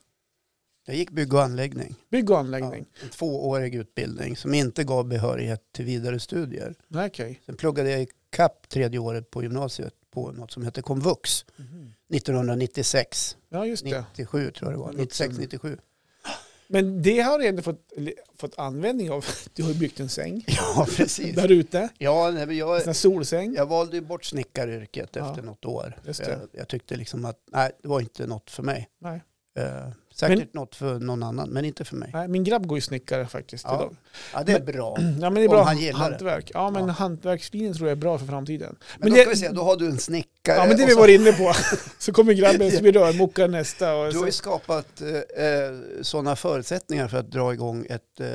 A: Jag gick bygg och anläggning.
B: Bygg och
A: Ja,
B: anläggning?
A: en tvåårig utbildning som inte gav behörighet till vidare studier.
B: Nej, okej.
A: Sen pluggade jag i kapp tredje året på gymnasiet på något som hette komvux 1996,
B: Ja, just det.
A: 97 tror jag det var, 96, 97.
B: Men det har du ändå fått, eller, fått användning av. Du har ju byggt en säng
A: Ja, precis.
B: där ute,
A: Ja, nej, men jag,
B: en sån här solsäng.
A: Jag valde ju bort snickaryrket
B: Ja.
A: efter något år.
B: Just det.
A: Jag, jag tyckte liksom att nej, det var inte något för mig.
B: Nej.
A: Eh, säkert något för någon annan, men inte för mig.
B: Nej, min grabb går ju snickare faktiskt
A: Ja.
B: idag.
A: Ja, det är bra.
B: Ja, men det är bra.
A: Om han gillar det.
B: Hantverk. Ja, men
A: Ja.
B: hantverkslinjen tror jag är bra för framtiden.
A: Men då
B: det-
A: ska vi se, då har du en snickare.
B: Ja men det
A: och
B: vi
A: så-
B: var inne på. Så kommer grabben som är rörmokare nästa. Och
A: Du har
B: så,
A: ju skapat eh, sådana förutsättningar för att dra igång ett eh,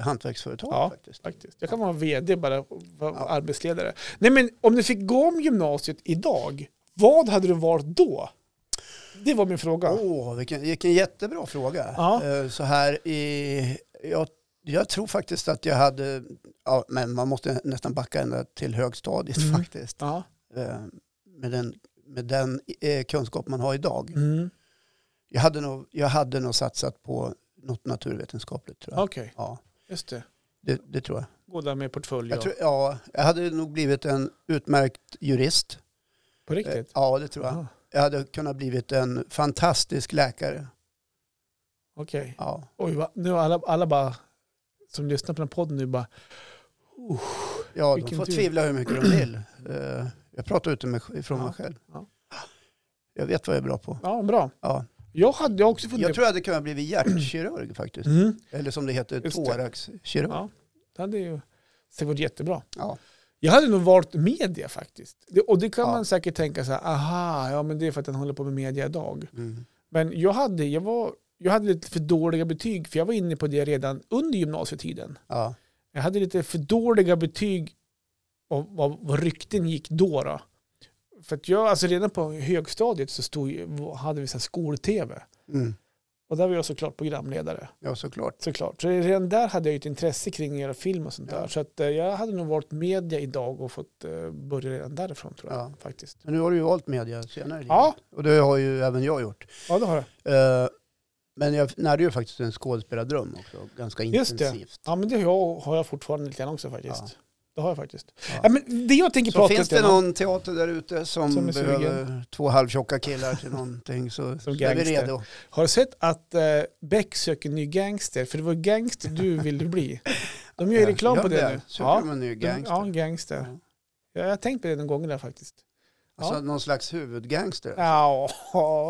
A: hantverksföretag
B: Ja.
A: faktiskt.
B: faktiskt. Jag kan vara vd bara, och vara arbetsledare. Nej men om du fick gå om gymnasiet idag, vad hade du varit då? Det var min fråga.
A: Åh, vilken, vilken jättebra fråga.
B: Ja.
A: Eh, Så här i, jag, jag tror faktiskt att jag hade, ja, men man måste nästan backa ända till högstadiet
B: Mm.
A: faktiskt.
B: Ja.
A: eh, med den, med den eh, kunskap man har idag.
B: Mm.
A: Jag, hade nog, jag hade nog satsat på något naturvetenskapligt tror jag.
B: Okej,
A: Ja,
B: just det.
A: det, det tror jag.
B: Gå där med portfölj
A: Jag,
B: och-
A: tror, ja, jag hade nog blivit en utmärkt jurist.
B: På
A: Eh,
B: riktigt? Ah,
A: Ja, det tror jag.
B: Aha,
A: Jag hade kunnat blivit en fantastisk läkare.
B: Okej.
A: Ja.
B: Oj, va? nu har alla, alla bara som lyssnar på den här podden nu bara
A: Ja, de
B: Vilken
A: får
B: tur.
A: tvivla hur mycket de vill. Eh, Jag pratar utifrån mig, ifrån
B: Ja,
A: mig själv.
B: ja.
A: Jag vet vad jag är bra på.
B: Ja, bra.
A: Ja.
B: Jag hade jag också
A: Jag
B: funderat
A: tror jag hade kunnat bli hjärtkirurg faktiskt.
B: Mm.
A: Eller som det heter,
B: Just det.
A: thoraxkirurg.
B: Ja, det hade ju det varit jättebra.
A: Ja.
B: Jag hade nog valt media faktiskt. Det, och det kan
A: Ja.
B: man säkert tänka så här, aha, ja men det är för att den håller på med media idag.
A: Mm.
B: Men jag hade, jag var, jag hade lite för dåliga betyg, för jag var inne på det redan under gymnasietiden.
A: Ja.
B: Jag hade lite för dåliga betyg av vad, vad rykten gick då. då. För att jag, alltså redan på högstadiet så stod, ju- hade vi så här skol-tv.
A: Mm.
B: Och där var jag såklart programledare.
A: Ja, såklart.
B: Såklart. Så redan där hade jag ju ett intresse kring att göra film och sånt
A: Ja.
B: där. Så att, eh, jag hade nog varit media idag och fått eh, börja redan därifrån tror jag.
A: Ja.
B: Faktiskt.
A: Men nu har du ju valt media senare. i livet.
B: Ja.
A: Och det har ju även jag gjort.
B: ja, det har jag.
A: Eh, Men jag närde ju faktiskt en skådespelardröm också, ganska
B: Just det.
A: intensivt.
B: Ja, men det har jag, har jag fortfarande lite grann också faktiskt.
A: Ja.
B: Det har jag faktiskt.
A: Ja.
B: Ja. men det jag tänker
A: Så
B: prata
A: finns
B: lite
A: det
B: grann om-
A: någon teater där ute som,
B: Som är sugen.
A: behöver två halvtjocka killar till någonting så, så är vi
B: gangster.
A: redo.
B: Har du sett att eh, Beck söker ny gangster? För det var gangster du ville bli. De gör ju reklam
A: Gör
B: på det, nu.
A: Söker
B: Ja,
A: de en ny gangster?
B: Ja, en gangster.
A: Ja.
B: Ja, jag har tänkt på det någon gång där faktiskt.
A: Alltså någon slags huvudgangster.
B: Ja,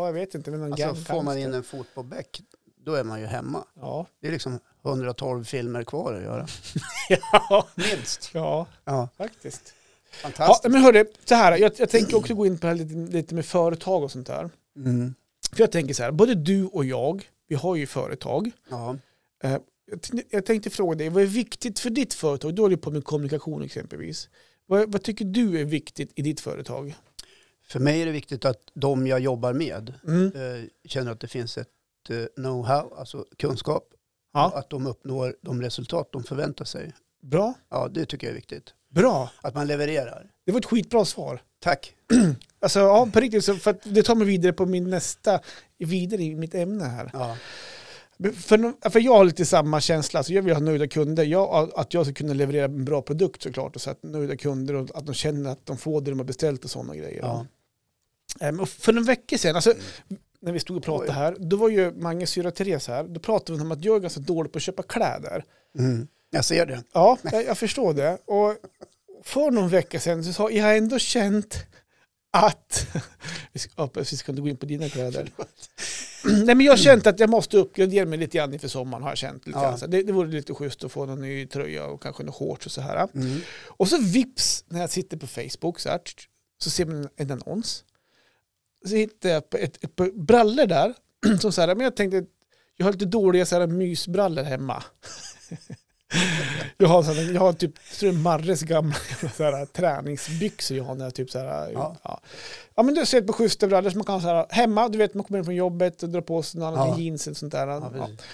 B: jag vet inte. Men någon
A: Alltså
B: gang-
A: får man in
B: gangster.
A: en fot på bäck, då är man ju hemma.
B: Ja.
A: Det är liksom 112 filmer kvar att göra.
B: ja,
A: Minst.
B: ja,
A: Ja,
B: faktiskt. Ja,
A: fantastiskt.
B: men hörru, så här, jag, jag tänker också gå in på det här lite, lite med företag och sånt där.
A: Mm.
B: För jag tänker så här, både du och jag, vi har ju företag.
A: Ja.
B: Jag, t- jag tänkte fråga dig, vad är viktigt för ditt företag? Du håller ju på med kommunikation exempelvis. Vad, vad tycker du är viktigt i ditt företag?
A: För mig är det viktigt att de jag jobbar med
B: Mm.
A: eh, känner att det finns ett eh, know-how, alltså kunskap.
B: Ja.
A: Och Att de uppnår de resultat de förväntar sig.
B: Bra,
A: Ja, det tycker jag är viktigt.
B: bra.
A: Att man levererar.
B: Det var ett skitbra svar.
A: Tack.
B: Alltså ja, på riktigt, så för att det tar mig vidare på min nästa, vidare i mitt ämne här.
A: Ja.
B: Men För, för jag har lite samma känsla, alltså jag vill ha nöjda kunder. Jag, att jag ska kunna leverera en bra produkt såklart, och så att nöjda kunder och att de känner att de får det de har beställt och sådana grejer.
A: Ja. Mm.
B: Ehm, och för en vecka sedan, alltså, när vi stod och pratade
A: Oj.
B: här, då var ju Manges syra Therese här, då pratade vi om att jag är ganska dålig på att köpa kläder.
A: Mm. Jag ser det.
B: Ja, jag, jag förstår det. Och för någon vecka sedan så har jag ändå känt att... Vi ska, ja, precis, vi ska inte gå in på dina kläder. Nej, men jag har känt att jag måste uppgradera mig lite grann inför sommaren. Har jag känt lite
A: Ja.
B: grann. Så Det, det vore lite schysst att få någon ny tröja och kanske några shorts och så här.
A: Mm.
B: Och så vips, när jag sitter på Facebook så, här, tsch, tsch, så ser man en, en annons. Så hittar jag på ett, ett, par brallor där. Som så här, men jag tänkte, jag har lite dåliga så här, mysbrallor hemma. jag, har, så här, jag har typ, jag tror det är Marres gamla jävla så här, träningsbyxor jag har. När jag, typ, så här,
A: Ja.
B: ja. Ja. men du ser på schyssta brallor som man kan ha så här, hemma, du vet man kommer hem från jobbet och drar på sig något annat,
A: Ja.
B: jeans och sånt där.
A: Ja, Ehm.
B: Ja.
A: precis.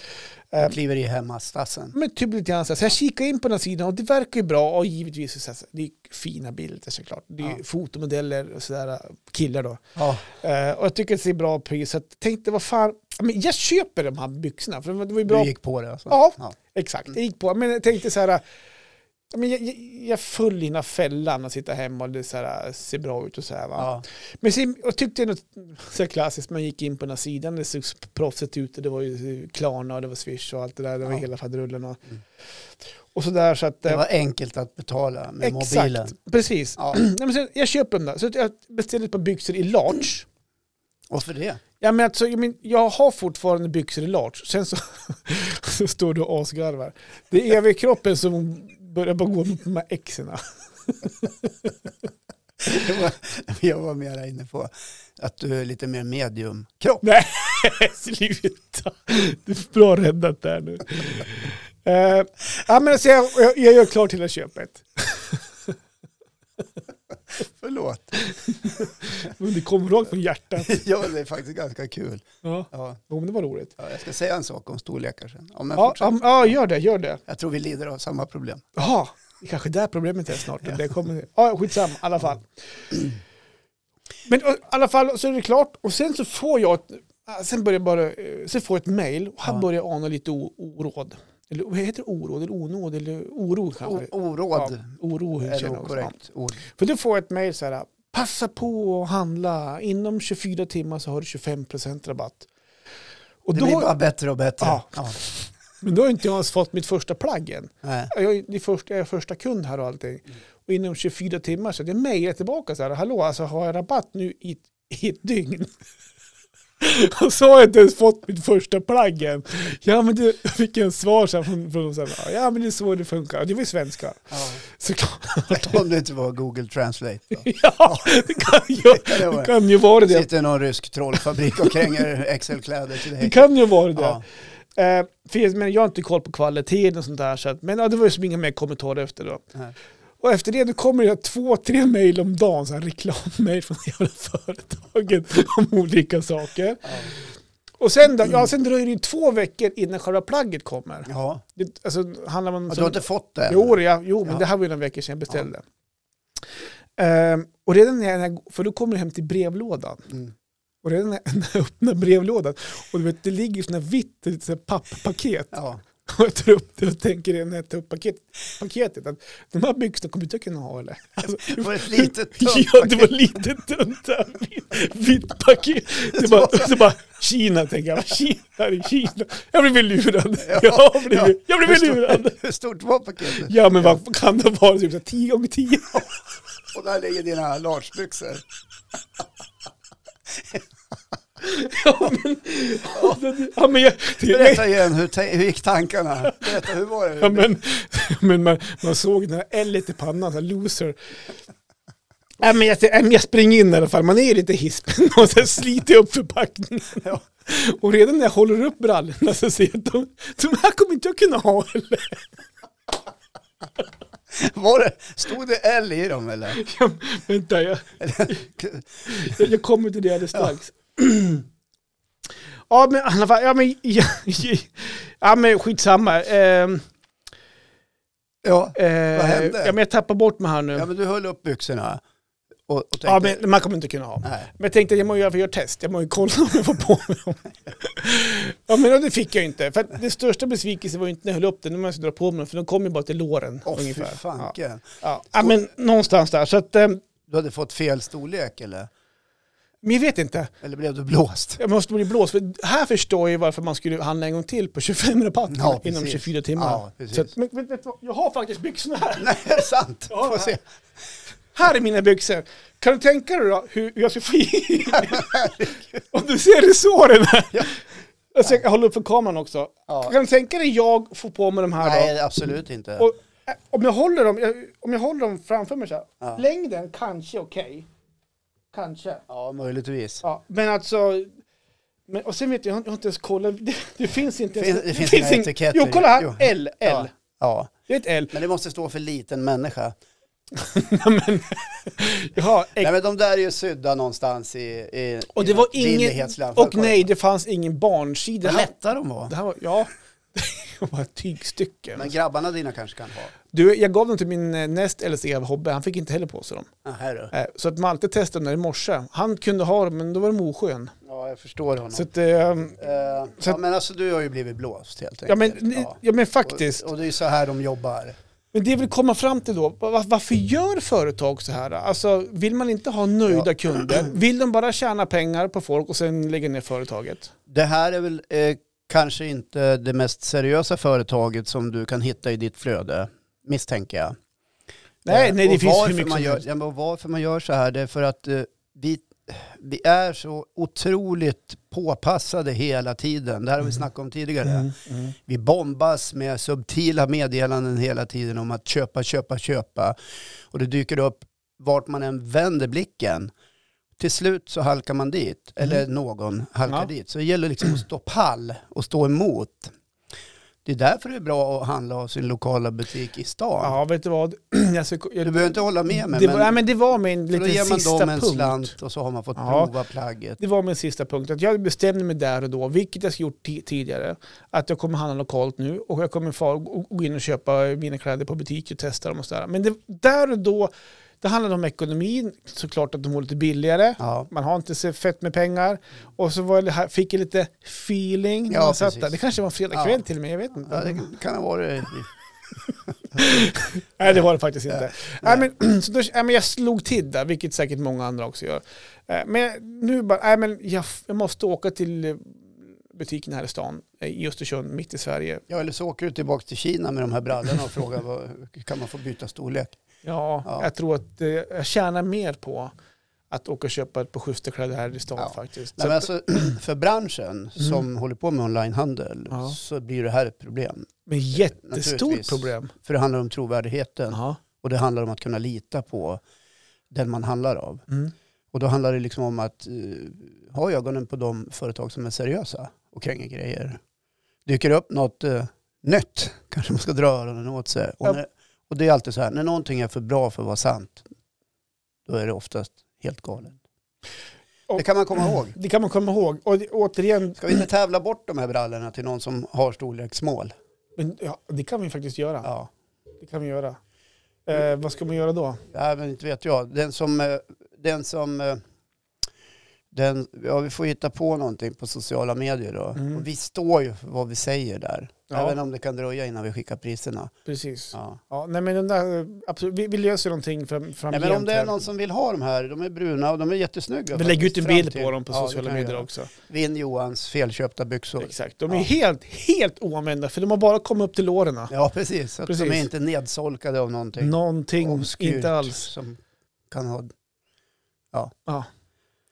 A: Jag kliver i hemmastassen.
B: Men typ lite grann så, här. så jag kikade in på den här sidan och det verkar ju bra och givetvis så här, det är fina bilder såklart. Det är ju
A: Ja.
B: fotomodeller och sådär, killar då.
A: Ja.
B: Eh, och jag tycker att det är bra pris så jag tänkte vad fan, men jag köper de här byxorna för det var det var ju bra.
A: Du gick på det alltså?
B: Ja.
A: ja.
B: Exakt, jag gick på, men jag tänkte så här, men jag, jag, jag föll i den här fällan att sitta hemma och det så här, ser bra ut och så här va.
A: ja.
B: Men sen, jag tyckte ändå, så här klassiskt, man gick in på den här sidan, det såg proffsigt ut, och det var ju Klarna och det var Swish och allt det där, det var
A: Ja.
B: hela faderullen och,
A: Mm.
B: och sådär så att... eh,
A: Det var enkelt att betala med mobilen.
B: precis.
A: Ja.
B: Nej, men sen, jag köper dem där, så att jag beställde ett par byxor i large.
A: Och för det?
B: Ja, men alltså, jag, men, jag har fortfarande byxor i large, sen så, så står du och asgarvar. Det är överkroppen som börjar bara gå mot de här exerna.
A: det var, jag var mera inne på att du är lite mer mediumkropp.
B: Nej, sluta. Du är bra räddat där nu. Eh, ja, men alltså, jag, jag, jag gör klart hela köpet.
A: Förlåt.
B: Men det kom rakt från hjärtat.
A: ja, det är faktiskt ganska kul.
B: Ja.
A: Ja,
B: Jo, men det var roligt.
A: ja, jag ska säga en sak om storlekar sen. Ja, men
B: Ja,
A: fortsätt.
B: ja, ja, gör det, gör det.
A: Jag tror vi lider av samma problem.
B: Jaha, det kanske är där problemet är snart. Det kommer, ja, skitsamma, i alla fall. Men och, i alla fall så är det klart. Och sen så får jag ett, ah, sen börjar jag bara, eh, sen får jag ett mejl. Och här
A: Ja.
B: börjar jag ana lite o, oråd. Eller vad heter det? Oråd eller onåd? Eller oro
A: O-
B: kanske?
A: oråd
B: Ja, oro
A: är
B: känner jag
A: nog
B: också. Ja.
A: korrekt ord.
B: För då får jag ett mejl så här. Passa på att handla. Inom 24 timmar så har du 25% rabatt. Och
A: Det blir
B: då,
A: bara bättre och bättre.
B: Ja. men då har inte jag ens fått mitt första plagg än.
A: Nej.
B: Ja, Jag är, det första, jag är första kund här och allting.
A: Mm.
B: Och inom 24 timmar så det mejlar jag tillbaka så här. Hallå, alltså har jag rabatt nu i, ett- i ett dygn? och så har jag inte ens fått mitt första plagg än. Ja, men det jag fick en svar så här från, från dem så här. Ja, men det är så det funkar. Och det var ju svenska.
A: Ja.
B: Såklart.
A: Om det inte var Google Translate. Då.
B: Ja, det kan ju,
A: det vara.
B: det kan ju vara det.
A: Sitter någon rysk trollfabrik och kränger XL-kläder till
B: Det
A: dig.
B: kan ju vara det.
A: Ja.
B: Eh, för jag, men jag har inte koll på kvaliteten och sånt där. Så att, men ja, det var ju som inga mer kommentarer efter då.
A: Nej.
B: Och efter det då kommer det två, tre mejl om dagen, så här reklammejl från jävla företagen om olika saker. Och sen, då, ja, sen dröjer det ju två veckor innan själva plagget kommer.
A: Ja.
B: Det, alltså, handlar man
A: Ja, Du har inte fått det? än.
B: Jo, ja, jo men
A: Ja.
B: det här var ju några veckor sedan jag beställde. Ehm, och redan när jag, för då kommer det hem till brevlådan.
A: Mm.
B: Och redan när när jag öppnar brevlådan, och du vet, det ligger sådana vitt litet så här pappapaket.
A: Ja.
B: Och jag tar upp det och tänker när jag tar upp paket, paketet att de här byxorna kommer inte jag kunna ha eller? Alltså,
A: Det var ett litet tunt
B: ja, det var lite tunt där. Vitt paket. Det bara, så bara, Kina tänker jag, Kina, det här är Kina. Jag blev lurad. Jag har blivit, jag blev
A: Hur stort-
B: lurad.
A: Hur stort var paketet?
B: Ja men vad kan det vara? Typ 10 gånger 10?
A: Och där ligger dina largebyxor.
B: Ja men, ja, men, jag, det,
A: Berätta igen, hur, te- hur gick tankarna? Berätta, hur var
B: ja,
A: det?
B: men, men man, man såg den här l i pannan, så här loser. Nej men jag, nej, men jag springer in i alla fall, man är ju lite hispen och sen sliter jag upp förpackningen.
A: Ja.
B: Och redan när jag håller upp brallorna så ser jag att de, de här kommer inte jag kunna ha heller.
A: Var det? Stod det L i dem eller?
B: Ja, vänta, jag, jag, jag kommer till det alldeles strax. Ja, men i alla fall, ja men, ja, ja, men skitsamma. Ehm,
A: Ja.
B: eh,
A: hände?
B: Ja, men jag tappar bort mig här nu.
A: ja, men du höll upp byxorna. och, och tänkte,
B: Ja, men man kommer inte kunna ha.
A: nej,
B: Men jag tänkte jag måste göra gör test, jag måste ju kolla om jag får på mig dem. Ja men det fick jag ju inte. För att det största besvikelsen var ju inte när jag höll upp den, när man skulle dra på mig den, för de kom ju bara till låren
A: åh fy
B: ungefär. Ja.
A: fanken.
B: Ja. ja men någonstans där. Så att, eh,
A: Du hade fått fel storlek eller?
B: men jag vet inte.
A: Eller blev du blåst?
B: Jag måste bli blåst. För här förstår jag ju varför man skulle handla en gång till på 25 rabatt
A: Ja, precis.
B: inom 24 timmar.
A: Ja,
B: så att,
A: precis.
B: men, men, vet du vad? jag har faktiskt byxorna här.
A: Nej, är det sant?
B: Ja,
A: Får se.
B: Här är mina byxor. Kan du tänka dig då hur jag ska få i Om du ser det såren här.
A: Ja.
B: Alltså, jag håller upp för kameran också.
A: Ja.
B: Kan du tänka dig jag får på mig de här
A: Nej, absolut
B: då?
A: inte.
B: Och, äh, om, jag håller dem, jag, om jag håller dem framför mig så här.
A: Ja.
B: Längden kanske okej. Kanske.
A: Ja, möjligtvis.
B: Ja, men alltså... Men, och sen vet jag, jag har jag har inte ens kollat. Det, det finns inte
A: Fin- det finns inga
B: ing-
A: etiketter.
B: Jo, kolla här.
A: Jo.
B: L, L.
A: Ja. ja,
B: Det är ett L.
A: men det måste stå för liten människa.
B: Jaha,
A: Nej, men de där är ju sydda någonstans i, i
B: Och
A: i
B: det var
A: något
B: ingen...
A: vindighetsland.
B: Och nej, det fanns ingen barnsida.
A: Vad
B: här,
A: lätta de var.
B: det här var... Ja. Det var ett tygstycke.
A: Men grabbarna dina kanske kan ha.
B: Du, jag gav dem till min eh, näst äldste Hobbe. Han fick inte heller på sig dem.
A: Ja, här du.
B: Eh, Så att Malte testade dem där i morse. Han kunde ha dem, men då var de oskön.
A: Ja, jag förstår honom.
B: Så att... eh,
A: Eh,
B: så
A: ja,
B: att-
A: men alltså du har ju blivit blåst helt
B: Ja
A: enkelt.
B: men, eh, ja men faktiskt.
A: Och, och det är ju så här de jobbar.
B: Men det jag vill komma fram till då, va- varför gör företag så här? Alltså, vill man inte ha nöjda
A: Ja.
B: kunder? Vill de bara tjäna pengar på folk och sen lägga ner företaget?
A: Det här är väl eh, kanske inte det mest seriösa företaget som du kan hitta i ditt flöde, misstänker jag.
B: Nej,
A: Eh,
B: nej det
A: och
B: finns
A: varför
B: hur mycket
A: man
B: som
A: gör,
B: helst.
A: ja, men Varför man gör så här, det är för att eh, vi, vi är så otroligt påpassade hela tiden. Det här har vi snackat om tidigare.
B: Mm, mm.
A: Vi bombas med subtila meddelanden hela tiden om att köpa, köpa, köpa. Och det dyker upp vart man än vänder blicken. Till slut så halkar man dit, eller någon halkar
B: Mm. Ja.
A: dit. Så det gäller liksom att stå pall och stå emot. Det är därför det är bra att handla av sin lokala butik i stan.
B: Ja, vet du vad? Jag ska, jag,
A: Du behöver inte hålla med mig,
B: det, var,
A: men,
B: nej, men det var min
A: för då ger
B: liten
A: man
B: sista
A: dem en
B: punkt.
A: slant och så har man fått
B: Ja.
A: prova plagget.
B: Det var min sista punkt. Att jag bestämde mig där och då, vilket jag gjort ti- tidigare, att jag kommer handla lokalt nu och jag kommer far- och- och gå in och köpa mina kläder på butik och testa dem och sådär. Men det, där och då, det handlade om ekonomin, såklart att de var lite billigare.
A: Ja.
B: Man har inte så fett med pengar. Och så var det här, fick jag lite feeling. när
A: Ja,
B: man satt
A: precis.
B: där. Det kanske var en fredagkväll
A: Ja.
B: till och med, jag vet inte.
A: Ja, det kan ha varit...
B: Nej, det var det faktiskt
A: Eh,
B: inte. Nej. men, så då, nej, men jag slog till där, vilket säkert många andra också gör. Eh, Men jag- nu bara, nej, men jag, f- jag måste åka till eh, butiken här i stan, eh, i Östersund, mitt i Sverige.
A: Ja, eller så åker du tillbaka till Kina med de här brallorna och frågar vad, kan man få byta storlek?
B: Ja,
A: Ja.
B: jag tror att eh, jag tjänar mer på att åka och köpa ett par schyssta här i stan
A: Ja.
B: faktiskt.
A: Nej,
B: Så
A: men
B: att,
A: alltså, för branschen som håller på med onlinehandel
B: Ja.
A: så blir det här ett problem.
B: men jättestort
A: naturligtvis.
B: problem.
A: För det handlar om trovärdigheten
B: Ja.
A: och det handlar om att kunna lita på den man handlar av.
B: Mm.
A: Och då handlar det liksom om att eh, ha ögonen på de företag som är seriösa och kränger grejer. Dyker det upp något eh, nytt kanske man ska dra öronen åt sig. Och,
B: Ja.
A: när, och det är alltid så här, när någonting är för bra för att vara sant, då är det oftast helt galet.
B: Och-
A: Det kan man komma ihåg.
B: Det kan man komma ihåg. Och det, återigen,
A: Ska vi inte tävla bort de här brallorna till någon som har storleksmål?
B: men, ja, det kan vi faktiskt göra.
A: Ja.
B: Det kan vi göra. Eh, vad ska man göra då?
A: ja, men inte vet jag. Den som... eh, Den som eh, den, ja, vi får hitta på någonting på sociala medier då.
B: Mm.
A: Och vi står ju för vad vi säger där.
B: Ja.
A: Även om det kan dröja innan vi skickar priserna.
B: Precis.
A: Ja.
B: Ja, nej men den där, eh, absolut, vi, vi löser någonting fram,
A: Nej,
B: framgent.
A: men om det är
B: här.
A: någon som vill ha de här, de är bruna och de är jättesnygga.
B: vi lägger ut
A: faktiskt,
B: en
A: fram
B: bild
A: till-
B: på dem på
A: Ja, det
B: sociala
A: kan jag
B: medier
A: göra.
B: också.
A: Vinn Johans felköpta byxor.
B: Exakt. De är
A: Ja.
B: helt, helt oanvända för de har bara kommit upp till låren.
A: Ja, precis. Så att
B: Precis.
A: de är inte nedsolkade av någonting.
B: Någonting,
A: Obskyrt
B: inte alls.
A: Som kan ha...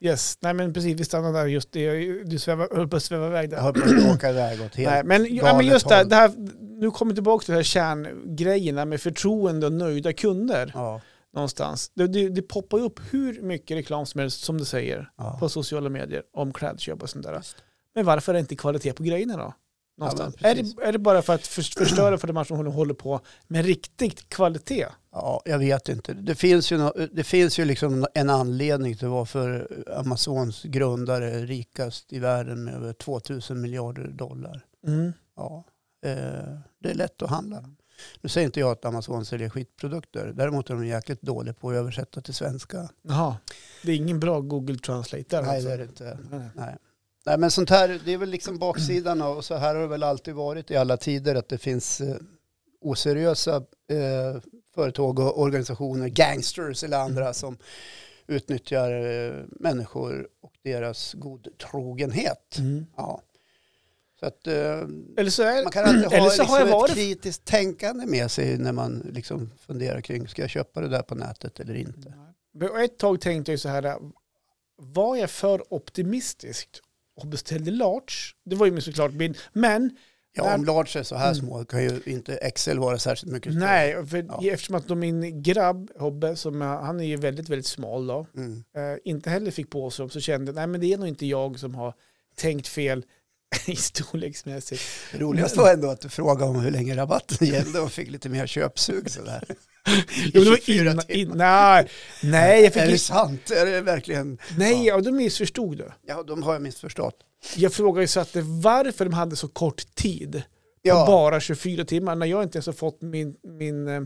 B: Yes, nej men precis, vi stannar där just det. Du svävar, höll på att sväva iväg
A: Jag
B: där.
A: höll på att åka iväg åt helt
B: Nej, men, ja, men
A: galet
B: just det, här-
A: håll.
B: det här, nu kommer vi tillbaka till det här kärngrejerna med förtroende och nöjda kunder
A: Ja,
B: någonstans. Det, det, det poppar ju upp hur mycket reklam som helst, som du säger,
A: ja.
B: på sociala medier om klädköp och sånt där.
A: Just.
B: Men varför är det inte kvalitet på grejerna då? Någonstans.
A: Ja, men
B: är,
A: precis.
B: det, är det bara för att förs- förstöra för de här som håller- håller på med riktigt kvalitet?
A: ja, jag vet inte. Det finns ju, nå- det finns ju liksom en anledning till varför Amazons grundare är rikast i världen med över 2000 miljarder dollar.
B: Mm.
A: Ja, eh, det är lätt att handla. Nu säger inte jag att Amazon säljer skitprodukter. Däremot är de jäkligt dåliga på att översätta till svenska.
B: Jaha, det är ingen bra Google Translate där
A: Nej,
B: alltså.
A: det är det inte.
B: Nej.
A: Nej. Nej, men sånt här, det är väl liksom baksidan av- och så här har det väl alltid varit i alla tider att det finns eh, oseriösa eh, företag och organisationer, gangsters eller
B: Mm.
A: andra som utnyttjar eh, människor och deras godtrogenhet.
B: Mm.
A: Ja. Så att eh,
B: Eller så är
A: man kan alltid ha
B: Eller så
A: liksom
B: har jag
A: ett
B: varit-
A: kritiskt tänkande med sig när man liksom funderar kring, ska jag köpa det där på nätet eller inte?
B: Men ett tag tänkte jag ju så här, var jag för optimistisk och beställde large? Det var ju min såklart bild. Men,
A: Ja, om large är så här små kan ju inte Excel vara särskilt mycket större.
B: Mm. nej, för,
A: Ja.
B: eftersom att då min grabb, Hobbe, som är, han är ju väldigt, väldigt smal då,
A: Mm.
B: eh, inte heller fick på sig dem så kände jag, nej men det är nog inte jag som har tänkt fel i storleksmässigt.
A: Det roligaste var ändå att du frågade om hur länge rabatten gällde och fick lite mer köpsug sådär.
B: Jo, men det var
A: 24
B: innan,
A: timmar.
B: in, nej, nej, jag
A: Är
B: fick
A: det
B: ju,
A: sant? Är det verkligen?
B: nej, ja, då missförstod du.
A: Ja, de har jag missförstått.
B: Jag frågade ju Satte varför de hade så kort tid. på
A: Ja,
B: bara 24 timmar när jag inte ens har fått min, min, eh,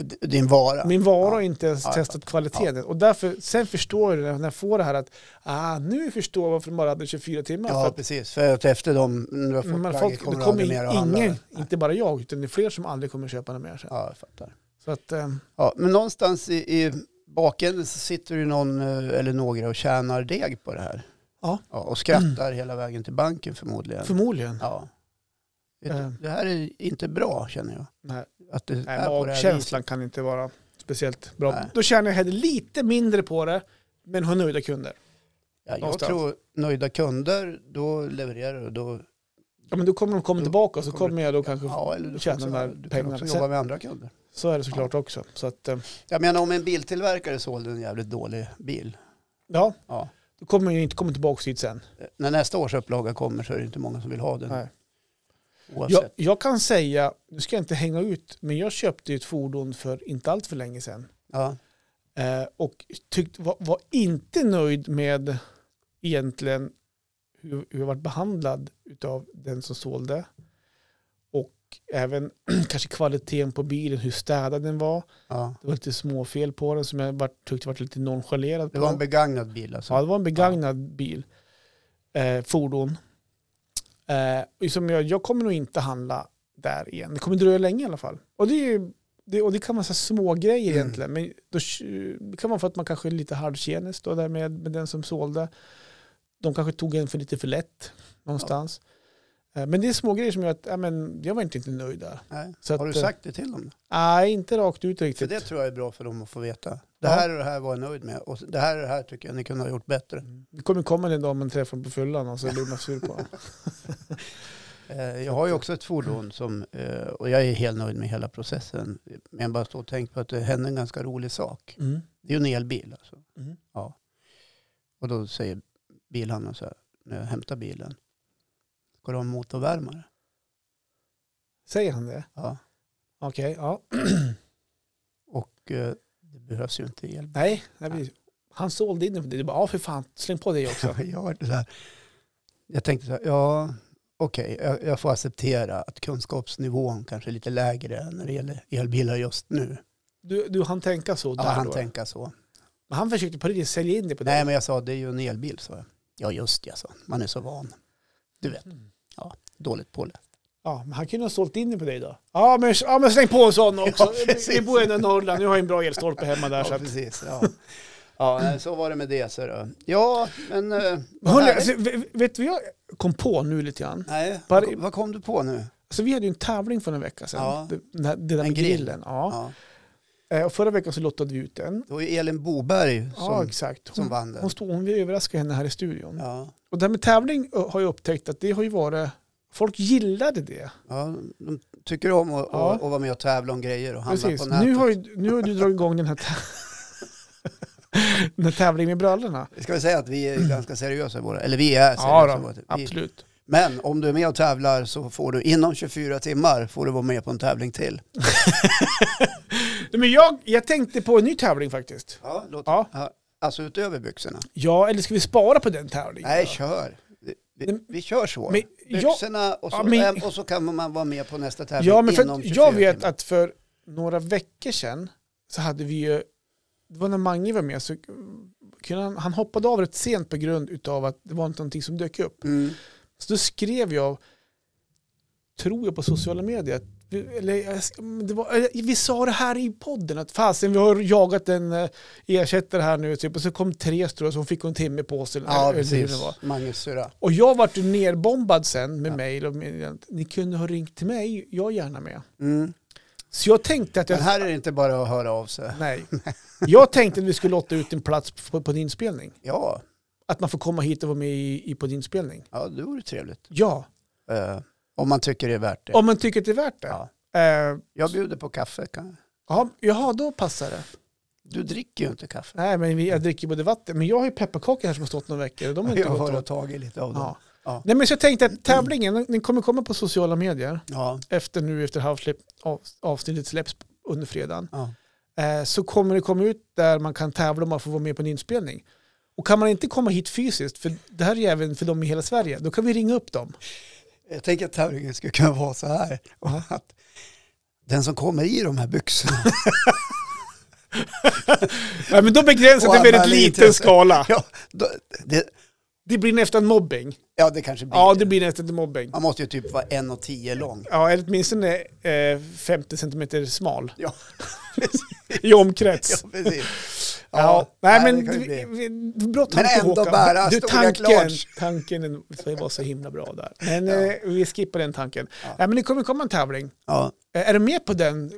A: d- din vara.
B: min vara
A: Ja.
B: och inte ens
A: Ja, jag
B: testat kvaliteten. Och därför, sen förstår jag det när jag får det här att ah, nu förstår jag varför de bara hade 24 timmar. för
A: Ja,
B: att,
A: precis. För att efter dem, när du har fått
B: men
A: plagget,
B: folk,
A: kommer
B: det
A: du aldrig mer att
B: kommer
A: handla.
B: ingen,
A: det.
B: inte bara jag, utan det är fler som aldrig kommer köpa den mer. sen.
A: Ja, jag fattar.
B: Så att, eh,
A: Ja, men någonstans i, i baken så sitter ju någon eh, eller några och tjänar deg på det här.
B: Ja.
A: och skrattar hela vägen till banken förmodligen.
B: förmodligen.
A: Ja. Vet du,
B: Eh.
A: Det här är inte bra känner jag.
B: Nej,
A: Att det
B: nej,
A: är på det här viset.
B: magkänslan kan inte vara speciellt bra.
A: Nej.
B: Då tjänar jag hellre lite mindre på det, men har nöjda kunder.
A: Ja, jag
B: Någonstans.
A: tror nöjda kunder, då levererar du. Då,
B: Ja, men då kommer de komma
A: Då
B: tillbaka och så
A: kommer-
B: kommer jag då kanske,
A: ja, eller du, får
B: tjänar
A: också,
B: de här
A: du kan
B: pengarna.
A: också
B: Sen-
A: jobba med andra kunder.
B: så är det såklart också. Så att, eh,
A: Jag menar om en biltillverkare sålde en jävligt dålig bil.
B: ja,
A: Ja.
B: då kommer jag ju inte komma tillbaka dit sen.
A: När nästa års upplaga kommer så är det inte många som vill ha den.
B: Nej. Jag,
A: Oavsett.
B: jag kan säga, nu ska jag inte hänga ut, men jag köpte ju ett fordon för inte allt för länge sedan.
A: Ja.
B: Eh, och tyckt, var, var inte nöjd med egentligen hur, hur jag varit behandlad utav den som sålde. Och även kanske kvaliteten på bilen, hur städad den var.
A: Ja.
B: Det var lite småfel på den som jag var, tyckte var lite nonchalerad
A: Det
B: på.
A: var en begagnad bil alltså.
B: Ja, det var en begagnad bil. Eh, fordon. Eh, liksom jag, jag kommer nog inte handla där igen. Det kommer dröja länge i alla fall. Och det, är ju, det, och det kan vara så här små grejer
A: Mm.
B: egentligen. Men då k- det kan vara för att man kanske är lite halvtjenist då där med, med den som sålde. De kanske tog en för lite för lätt någonstans. Eh, men det är små grejer som gör att ja, men, jag var inte, inte nöjd där.
A: Nej.
B: Så
A: Har
B: att,
A: du sagt det till dem?
B: eh, Nej, inte rakt ut
A: För
B: riktigt.
A: det tror jag är bra för dem att få veta. Det
B: Ja.
A: här och det här var jag nöjd med och det här och det här tycker jag ni kunde ha gjort bättre.
B: Det kommer komma en dag man träffar dem på fyllan och så blir man sur på dem.
A: Eh, Jag har ju också ett fordon som, eh, och jag är helt nöjd med hela processen. Men jag bara står och tänker på att det hände en ganska rolig sak.
B: Mm.
A: Det är ju en elbil alltså.
B: Mm.
A: Ja. Och då säger bilhandlaren så här, när jag hämtar bilen, ska du ha en motorvärmare?
B: Säger han det?
A: Ja.
B: Okej, ja.
A: Och eh, det behövs ju inte el.
B: Nej, nej precis. han sålde in den för det. Du bara, ja för fan, släng på det också.
A: Jag, var så här, jag tänkte så här, ja okej, jag, jag får acceptera att kunskapsnivån kanske är lite lägre när det gäller elbilar just nu.
B: Du, du han tänka så
A: Ja,
B: där
A: han
B: då.
A: tänka så.
B: Men han försökte på riktigt sälja in det på
A: Nej
B: dig.
A: men jag sa, det är ju en elbil sa jag. Ja just det, jag sa, man är så van. Du vet,
B: Mm.
A: dåligt påläst.
B: Ja, men han kunde ha sålt in det på dig då. Ja, men, ja, men släng på en sån också.
A: Ja, precis.
B: Vi bor ändå i Norrland, nu har jag en bra elstolpe hemma där. så
A: Ja
B: att,
A: precis. Ja. Ja, nej, så var det med det. Så då. Ja, men... eh, vad
B: Hörrni,
A: härligt.
B: alltså, vet- vet du vad jag kom på nu lite grann?
A: Nej,
B: Bara-
A: vad, vad kom du på nu?
B: Alltså, vi hade ju en tävling för en vecka sedan.
A: Ja.
B: Det, den här- det där
A: En
B: med
A: grill.
B: grillen. Ja.
A: Ja.
B: Eh, Och förra veckan så lottade vi ut den.
A: Det var ju Elin Boberg som,
B: Ja, exakt.
A: som
B: Hon,
A: vann den.
B: hon, stod, hon vi överraskade henne här i studion.
A: Ja.
B: Och det här med tävling ö, har jag upptäckt att det har ju varit, folk gillade det.
A: Ja, de tycker om att
B: Ja.
A: att- att vara med och tävla om grejer och handla
B: Precis.
A: på nätet.
B: Nu har, ju, nu har du dragit igång den här, tä- den här tävlingen med brallorna.
A: Ska vi säga att vi är ganska seriösa i våra, eller vi är seriösa. i
B: Mm. Ja,
A: våra-
B: då,
A: vi,
B: absolut.
A: Men om du är med och tävlar så får du inom 24 timmar får du vara med på en tävling till.
B: Nej, Men jag, jag tänkte på en ny tävling faktiskt.
A: Ja, låt,
B: Ja.
A: ja. Alltså utöver byxorna.
B: ja, eller ska vi spara på den tävlingen?
A: Nej,
B: då?
A: kör. Vi, vi kör så.
B: Men jag-
A: Byxorna och så, eh,
B: Ja, men-
A: och så kan man vara med på nästa tävling
B: Ja, men för
A: inom
B: att
A: 24
B: jag vet
A: timmar.
B: att för några veckor sedan så hade vi ju, det var när Mange var med, så kunde han, han hoppade av rätt sent på grund utav att det var inte någonting som dök upp.
A: Mm.
B: Så då skrev jag, tror jag på sociala medier, att vi, eller, jag- det var, eller, vi sa det här i podden, att fasen vi har jagat en eh, ersättare här nu, typ, och så kom tre tror så hon fick en timme på sig. eller-
A: Ja,
B: eller hur
A: precis.
B: det var.
A: Magnus syrra.
B: Och jag vart ju nerbombad sen med
A: Ja.
B: mejl och med, att ni kunde ha ringt till mig, jag är gärna med.
A: Mm.
B: Så jag tänkte att jag...
A: Men här är det inte bara att höra av sig.
B: Nej. Jag tänkte att vi skulle låta ut en plats på, på din spelning.
A: Ja,
B: Att man får komma hit och vara med i, i på din spelning.
A: ja det vore trevligt.
B: Ja,
A: Eh, om man tycker det är värt det.
B: om man tycker att det är värt det.
A: Ja.
B: Eh,
A: Jag bjuder på kaffe. Kan...
B: ja, jaha, då passar det.
A: Du dricker ju inte kaffe.
B: Nej, men vi, jag dricker både vatten. Men jag har ju pepparkakor här som har stått några veckor. och De har inte
A: Jag
B: gått
A: har
B: åt.
A: tagit lite av dem.
B: Ja.
A: Ja.
B: Nej, men så jag tänkte att tävlingen, den- den kommer komma på sociala medier.
A: Ja.
B: Efter nu, efter halvsläpp, av, avsnittet släpps under fredagen.
A: Ja.
B: eh, så kommer det komma ut där man kan tävla om man får vara med på en inspelning. Och kan man inte komma hit fysiskt, för det här är ju även för dem i hela Sverige, då kan vi ringa upp dem.
A: Jag tänker att tävlingen skulle kunna vara så här. Att den som kommer i de här byxorna.
B: Ja, men då begränsar
A: Och
B: det väldigt
A: analytiskt.
B: liten skala.
A: ja, då, det,
B: Det blir nästan mobbing.
A: ja, det kanske blir
B: Ja,
A: det.
B: det blir nästan mobbing.
A: Man måste ju typ vara en och tio lång.
B: Ja, eller åtminstone eh, 50 centimeter smal
A: Ja, precis.
B: i omkrets.
A: Ja, precis.
B: Ja, nej, men
A: det kan ju
B: vi-
A: bli.
B: vi- bra tanke
A: Men ändå
B: Håkan.
A: bära
B: du,
A: stora
B: tanken,
A: klars.
B: tanken är- var så himla bra där. Men eh, vi skippar den tanken.
A: Ja.
B: Nej, men det kommer komma en tävling.
A: Ja,
B: Eh, Är du med på den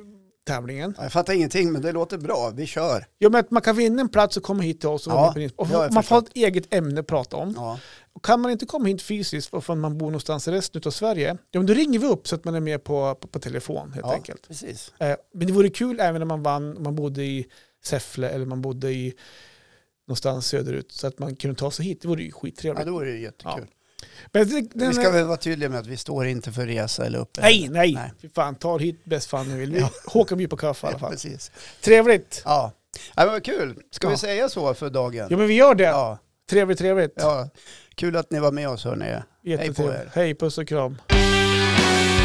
B: tävlingen?
A: jag fattar ingenting, men det låter bra. Vi kör.
B: Ja, men att man kan vinna en plats och komma hit och, så
A: Ja,
B: och
A: det har jag
B: man får ha
A: förstått.
B: ett eget ämne att prata om.
A: Ja.
B: Och kan man inte komma hit fysiskt för att man bor någonstans i resten av Sverige, ja, men då ringer vi upp så att man är med på, på, på telefon helt
A: ja,
B: enkelt.
A: precis.
B: Eh, men det vore kul även om man vann, om man bodde i Säffle eller man bodde i någonstans söderut så att man kunde ta sig hit. Det vore ju
A: Ja,
B: skittrevligt.
A: det vore ju jättekul.
B: men det, den,
A: Vi ska väl vara tydliga med att vi står inte för resa eller uppe.
B: Nej, nej,
A: Nej.
B: Fy fan, ta hit bäst fan ni vill. Vi,
A: Ja.
B: Håkan bjuder på kaffe i alla
A: Ja,
B: fall.
A: precis.
B: Trevligt.
A: Ja. ja, men vad kul. Ska
B: Ja.
A: vi säga så för dagen?
B: Ja, men vi gör det.
A: Ja.
B: Trevligt, trevligt.
A: ja. Kul att ni var med oss hörni. Hej på
B: Jättetrevligt.
A: er.
B: Hej, puss och kram.